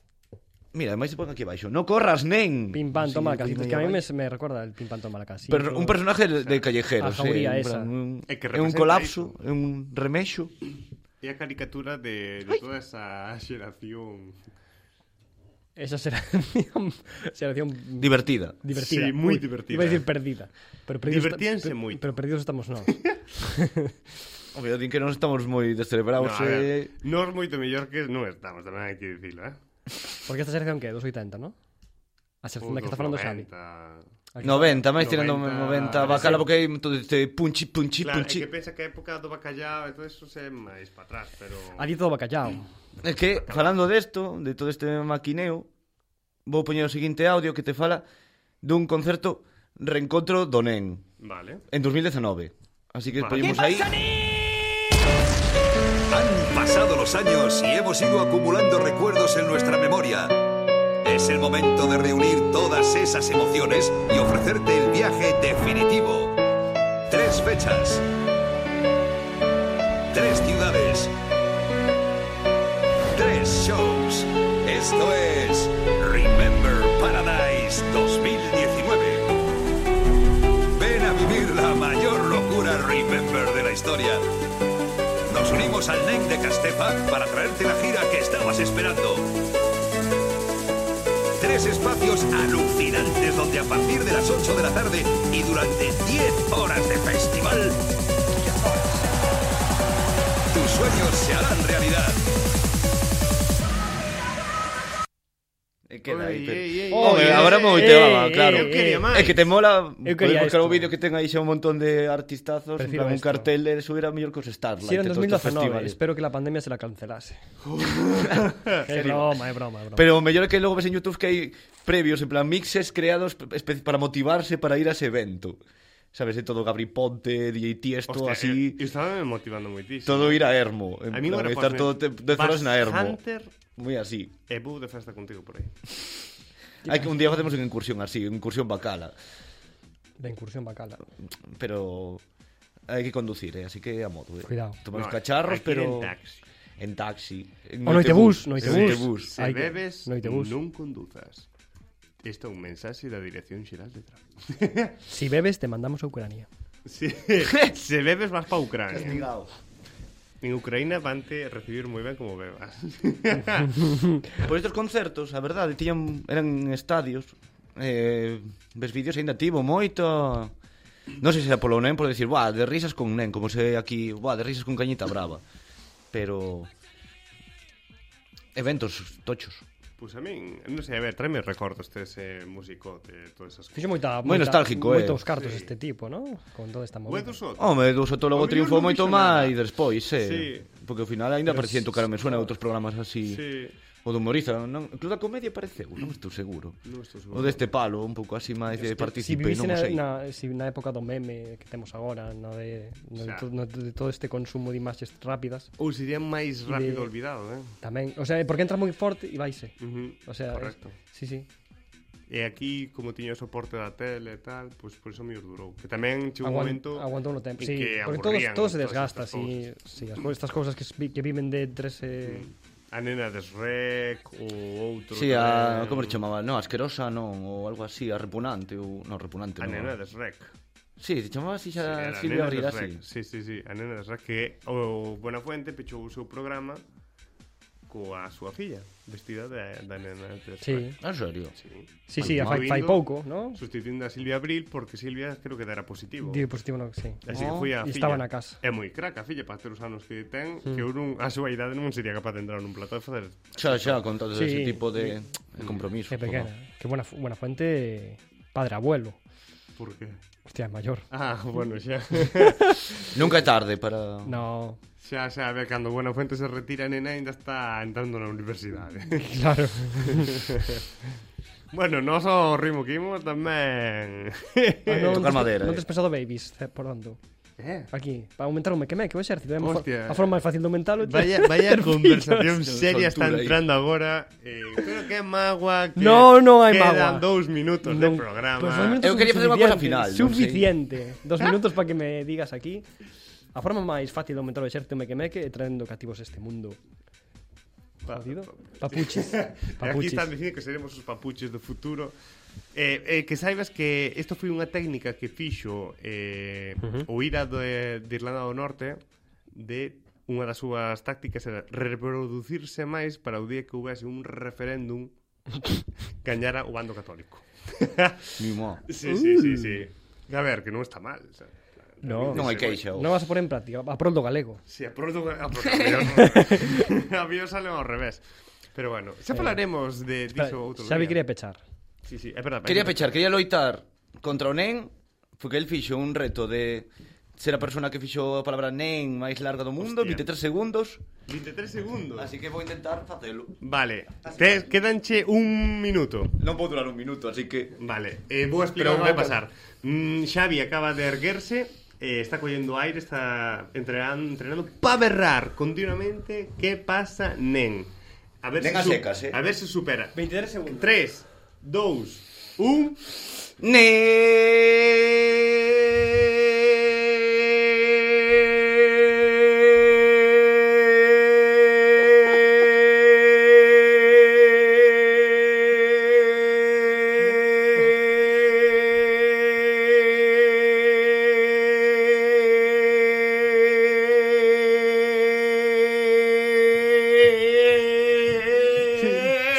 Speaker 2: Mira, ademais se pon aquí abaixo. No corras, nen.
Speaker 3: Pim pam,
Speaker 2: Así,
Speaker 3: toma
Speaker 2: un
Speaker 3: la casita.
Speaker 2: poquito
Speaker 3: Es que a
Speaker 2: aí
Speaker 3: mí me,
Speaker 2: abaixo.
Speaker 3: me recuerda el pim pam, toma la casita.
Speaker 2: Pero un personaje de, de callejero,
Speaker 3: a jauría esa.
Speaker 2: un,
Speaker 1: É que
Speaker 2: é un
Speaker 1: representa
Speaker 2: colapso, é un remexo.
Speaker 1: E a caricatura de, de toda esa xeración.
Speaker 3: Esa será xeración
Speaker 2: Divertida.
Speaker 1: Sí,
Speaker 3: divertida.
Speaker 1: moi
Speaker 3: Ui,
Speaker 1: divertida.
Speaker 3: Iba a decir perdida. Pero perdidos,
Speaker 1: Divertíanse
Speaker 3: pero-
Speaker 1: moito.
Speaker 3: Pero perdidos estamos nós.
Speaker 2: Obvio, din que non estamos moi
Speaker 1: No,
Speaker 2: descerebrados.
Speaker 1: a
Speaker 2: No,
Speaker 1: ver,
Speaker 2: eh...
Speaker 1: nós moito mellor que non estamos, tamén hai que dicilo, eh?
Speaker 3: Porque esta xeración que é dos 80, ¿no? A sección da que está falando Xavi. A que
Speaker 2: 90, máis tirando 90,
Speaker 1: 90,
Speaker 2: 90 bacala,
Speaker 1: sí.
Speaker 2: porque hai todo este punchi, punchi,
Speaker 1: Claro, é
Speaker 2: punchi.
Speaker 1: que pensa que a época do bacallao e todo eso se é máis para atrás, pero...
Speaker 3: Ali todo bacallao.
Speaker 2: É que, falando desto, de todo este maquineo, vou poñer o seguinte audio que te fala dun concerto Reencontro do Nen,
Speaker 1: Vale.
Speaker 2: en 2019. Así que
Speaker 1: Vale.
Speaker 2: poñemos aí...
Speaker 9: Han pasado los años y hemos ido acumulando recuerdos en nuestra memoria. Es el momento de reunir todas esas emociones y ofrecerte el viaje definitivo. Tres fechas. Tres ciudades. Tres shows. Esto es Remember Paradise 2019. Ven a vivir la mayor locura Remember de la historia. Nos unimos al NEC de Castefa para traerte la gira que estabas esperando. Tres espacios alucinantes donde a partir de las 8 de la tarde y durante 10 horas de festival, tus sueños se harán realidad.
Speaker 2: E Eh, queda aí, pero...
Speaker 1: Oh,
Speaker 2: Oye, agora
Speaker 1: eh,
Speaker 2: moito,
Speaker 1: eh,
Speaker 2: vaba, claro.
Speaker 1: Eu quería máis.
Speaker 2: É que te mola
Speaker 3: Eu
Speaker 2: poder
Speaker 3: quería
Speaker 2: buscar o
Speaker 3: isto.
Speaker 2: vídeo que ten aí xa un montón de artistazos, en
Speaker 3: Prefiro
Speaker 2: plan, un
Speaker 3: isto.
Speaker 2: cartel de subir a mellor que os Starlight.
Speaker 3: Si era
Speaker 2: de
Speaker 3: en
Speaker 2: todos estes
Speaker 3: 2019,
Speaker 2: festivales.
Speaker 3: espero que la pandemia se la cancelase. é broma, é broma, é broma.
Speaker 2: Pero o mellor é que logo ves en Youtube que hai previos, en plan, mixes creados espe- para motivarse para ir a ese evento. Sabes, de todo Gabri Ponte, DJ Tiesto,
Speaker 1: Hostia,
Speaker 2: así...
Speaker 1: eh, Estaba motivando moitísimo.
Speaker 2: Todo ir a Ermo. En
Speaker 1: A mí
Speaker 2: plan,
Speaker 1: agora
Speaker 2: estar
Speaker 1: ponme
Speaker 2: todo te, dez horas na
Speaker 1: Bass
Speaker 2: Ermo.
Speaker 1: Hunter
Speaker 2: Moi así.
Speaker 1: e vou de festa contigo por aí.
Speaker 2: Hai que un día facemos unha incursión así, unha incursión bacala.
Speaker 3: Da incursión bacala.
Speaker 2: Pero hai que conducir, eh? así que a modo. Eh?
Speaker 3: Cuidado.
Speaker 2: Tomamos
Speaker 1: No,
Speaker 2: cacharros,
Speaker 1: hai que ir
Speaker 2: pero...
Speaker 1: en taxi.
Speaker 2: En taxi. En
Speaker 3: O noitebús, noitebús.
Speaker 2: noitebús.
Speaker 1: Se
Speaker 3: Hai que-
Speaker 1: bebes,
Speaker 3: noitebús.
Speaker 1: non conduzas. Isto é un mensaxe da Dirección Xeral de Tráfico.
Speaker 3: Si bebes, te mandamos a Ucrania.
Speaker 1: Sí. Se bebes vas pa Ucrania.
Speaker 2: Castigao.
Speaker 1: En Ucraína vante recibir moi ben como bebas.
Speaker 2: Por estes concertos, a verdade, tiñan, eran en estadios eh, Ves vídeos ainda tivo moito Non sei se era polo nen por decir Buah, de risas con nen, como se aquí Buah, de risas con cañita brava Pero Eventos tochos
Speaker 1: Pois a min, non sei, a ver, tráeme recordos dese músico de todas esas
Speaker 3: Fixo
Speaker 1: cousas.
Speaker 3: moita,
Speaker 2: Moi
Speaker 3: moita-
Speaker 2: nostálgico, eh.
Speaker 3: Moitos cartos este tipo, ¿no? Con toda esta movida.
Speaker 1: Buenos outros.
Speaker 3: Oh.
Speaker 2: Home, do sotólogo
Speaker 1: O mellor
Speaker 2: triunfou
Speaker 1: non
Speaker 2: moito
Speaker 1: fixo nada.
Speaker 2: máis despois eh?
Speaker 1: Sí.
Speaker 2: Porque ao final ainda
Speaker 3: Pero
Speaker 2: aparecían tocar me suena en outros programas así
Speaker 1: Sí.
Speaker 2: O do humorista, non? Club da Comedia pareceu, non estou seguro.
Speaker 1: Non estou seguro.
Speaker 2: O deste palo, un pouco así máis de
Speaker 3: Si
Speaker 2: participei,
Speaker 3: vivís
Speaker 2: non o
Speaker 3: na,
Speaker 2: sei.
Speaker 3: na, si na época do meme que temos agora, no de, no de,
Speaker 1: Xa.
Speaker 3: to, no de todo este consumo de imaxes rápidas,
Speaker 1: Ou sería máis rápido
Speaker 3: De-
Speaker 1: olvidado, eh?
Speaker 3: tamén, o sea, porque entra moi forte e vaise.
Speaker 1: Ujú,
Speaker 3: O sea,
Speaker 1: correcto.
Speaker 3: Es, sí, sí.
Speaker 1: E aquí, como tiña o soporte da tele e tal, pois por eso me durou. Que tamén chegou un
Speaker 3: Aguan-
Speaker 1: momento
Speaker 3: aguantou no
Speaker 1: en
Speaker 3: tempo. Sí,
Speaker 1: que
Speaker 3: porque todo,
Speaker 1: aburrían
Speaker 3: todo se
Speaker 1: todas
Speaker 3: desgasta.
Speaker 1: estas
Speaker 3: Si, si, as, co- estas cousas que, se vi- que viven de tres... Eh,
Speaker 1: A nena de Shrek ou outro...
Speaker 2: Si, sí,
Speaker 1: tamén.
Speaker 2: a, como se chamaba? No, asquerosa, non, ou algo así, a repugnante, ou non, repugnante,
Speaker 1: A
Speaker 2: non.
Speaker 1: nena de Shrek.
Speaker 2: Si, sí, se chamaba así xa
Speaker 1: Era a nena de
Speaker 2: Silvia Rida,
Speaker 1: Shrek.
Speaker 2: si.
Speaker 1: Sí, sí, sí. A nena de Shrek que o Buenafuente pechou o seu programa coa súa filla, vestida de, da nena de
Speaker 3: sí,
Speaker 1: Shrek.
Speaker 2: Ah, En serio.
Speaker 1: Sí.
Speaker 3: sí, sí, a fai,
Speaker 1: Incluindo-
Speaker 3: fai pouco, ¿no?
Speaker 1: Sustituindo a Silvia Abril porque Silvia creo que dera positivo.
Speaker 3: Di positivo no, sí.
Speaker 1: Así que
Speaker 2: Oh.
Speaker 1: fui a filla.
Speaker 3: E estaba na casa.
Speaker 1: É moi crack a filla para ter os anos que ten, que eu non, a súa idade non sería capaz de entrar nun plató e facer
Speaker 2: Xa, xa, con todo
Speaker 3: Sí,
Speaker 2: ese tipo de, de compromiso.
Speaker 3: É pequena. Que buena, fu- buena fuente, padre abuelo.
Speaker 1: por qué.
Speaker 3: Hostia, é maior.
Speaker 1: Ah, bueno, xa.
Speaker 2: Nunca é tarde para...
Speaker 3: No,
Speaker 1: xa, xa, a ver, cando Buenafuente se retira a nena ainda está entrando na universidade.
Speaker 3: claro.
Speaker 1: bueno, nós ao ritmo que imos tamén...
Speaker 3: Ah, non,
Speaker 2: Tocar
Speaker 3: tes-
Speaker 2: madera,
Speaker 3: Non
Speaker 2: eh.
Speaker 3: tes pensado babies, eh, por onde?
Speaker 1: eh,
Speaker 3: Aquí, para aumentar o mequeme, que o exército. É a mejor-
Speaker 1: Hostia.
Speaker 3: a forma máis fácil de aumentalo. che.
Speaker 1: Vaya, vaya
Speaker 3: Ter
Speaker 1: conversación
Speaker 3: fillos.
Speaker 1: seria está
Speaker 2: Soltura aí.
Speaker 1: entrando agora. Eh, creo que é magua que
Speaker 3: No, no hai
Speaker 1: quedan
Speaker 3: magua.
Speaker 1: dous minutos
Speaker 3: Non-
Speaker 1: de programa.
Speaker 3: Pues, dos minutos
Speaker 2: Eu quería facer unha cosa final, non sei.
Speaker 3: Suficiente. Dos minutos para que me digas aquí. A forma máis fácil de aumentar o exército mequemeque é traendo cativos a este mundo. Jodido. Papuchis.
Speaker 1: E Aquí
Speaker 3: Papuchis.
Speaker 1: están dicindo que seremos os papuches do futuro. Eh, eh, que saibas que isto foi unha técnica que fixo eh, uh -huh. o Ira de, de Irlanda do Norte de unha das súas tácticas era reproducirse máis para o día que houvese un referéndum gañara o bando católico.
Speaker 2: Mimo.
Speaker 1: Sí, sí, sí, sí. A ver, que non está mal. O sea,
Speaker 3: No,
Speaker 2: Non hai queixa.
Speaker 3: non vas a pôr en práctica. A prol do galego.
Speaker 1: Si, a pronto a
Speaker 3: Eh.
Speaker 1: pronto, a mí sale ao revés. Pero bueno, xa falaremos de diso outro
Speaker 3: Xavi
Speaker 1: día.
Speaker 3: quería pechar.
Speaker 1: Sí, sí, é verdade.
Speaker 2: Quería pechar, quería loitar contra o nen, porque el fixo un reto de ser a persona que fixo a palabra nen máis larga do mundo,
Speaker 1: Hostia.
Speaker 2: 23 segundos,
Speaker 1: 23 segundos.
Speaker 2: así que vou intentar facelo.
Speaker 1: Vale, te, quedanche un minuto.
Speaker 2: Non vou durar un minuto, así que...
Speaker 1: Vale, eh, vou explicar o que vai pasar. Mm, Xavi acaba de erguerse, eh, está collendo aire, está entrenando, entrenando pa berrar continuamente que pasa nen. A ver
Speaker 2: Nen a
Speaker 1: su-
Speaker 2: secas, eh.
Speaker 1: A ver se supera.
Speaker 3: 23 segundos.
Speaker 1: 3, 2, 1...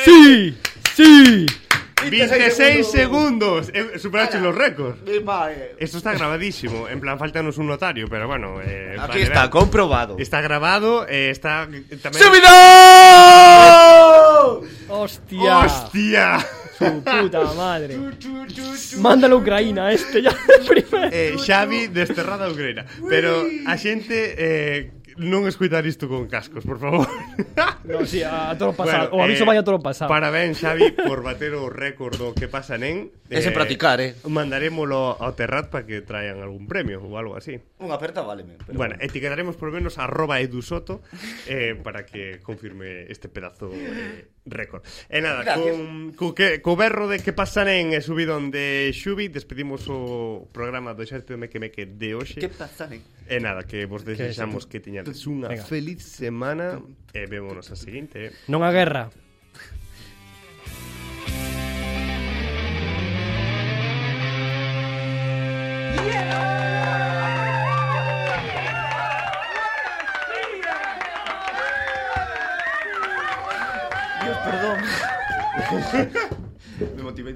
Speaker 3: ¡Sí! ¡Sí!
Speaker 1: 26 segundos. Eh, superaste los récords.
Speaker 2: Vale.
Speaker 1: Esto está grabadísimo. En plan, faltanos un notario, pero bueno. Eh,
Speaker 2: Aquí
Speaker 1: vale,
Speaker 2: está,
Speaker 1: vale.
Speaker 2: comprobado.
Speaker 1: Está grabado, eh, está también.
Speaker 2: ¡Subidón!
Speaker 3: ¡Hostia!
Speaker 1: ¡Hostia!
Speaker 3: ¡Su puta madre! Mándalo a Ucrania este ya primero.
Speaker 1: Eh, Xavi desterrada a Ucrania. Pero a xente eh, non escoitar isto con cascos, por favor.
Speaker 3: No, sí, a toro
Speaker 1: Bueno,
Speaker 3: pasado. o aviso
Speaker 1: eh,
Speaker 3: vaya a toro pasado.
Speaker 1: Parabéns, Xavi, por bater o récord do que pasa nen.
Speaker 2: É sen practicar, eh.
Speaker 1: Mandarémolo ao Terrat para que traian algún premio ou algo así.
Speaker 2: Unha aperta váleme. Pero...
Speaker 1: Bueno, etiquetaremos por lo menos arroba edusoto eh, para que confirme este pedazo eh, récord. E nada,
Speaker 2: Gracias.
Speaker 1: con, co, que, co berro de que pasan en e subidón de Xubi, despedimos o programa do Xerte Meque Meque de hoxe.
Speaker 2: Que pasa, nen?
Speaker 1: E nada, que vos desexamos que tiñades unha
Speaker 3: Venga.
Speaker 1: feliz semana e vémonos a seguinte. Eh.
Speaker 3: Non a guerra.
Speaker 2: Dios, perdón. Me motivé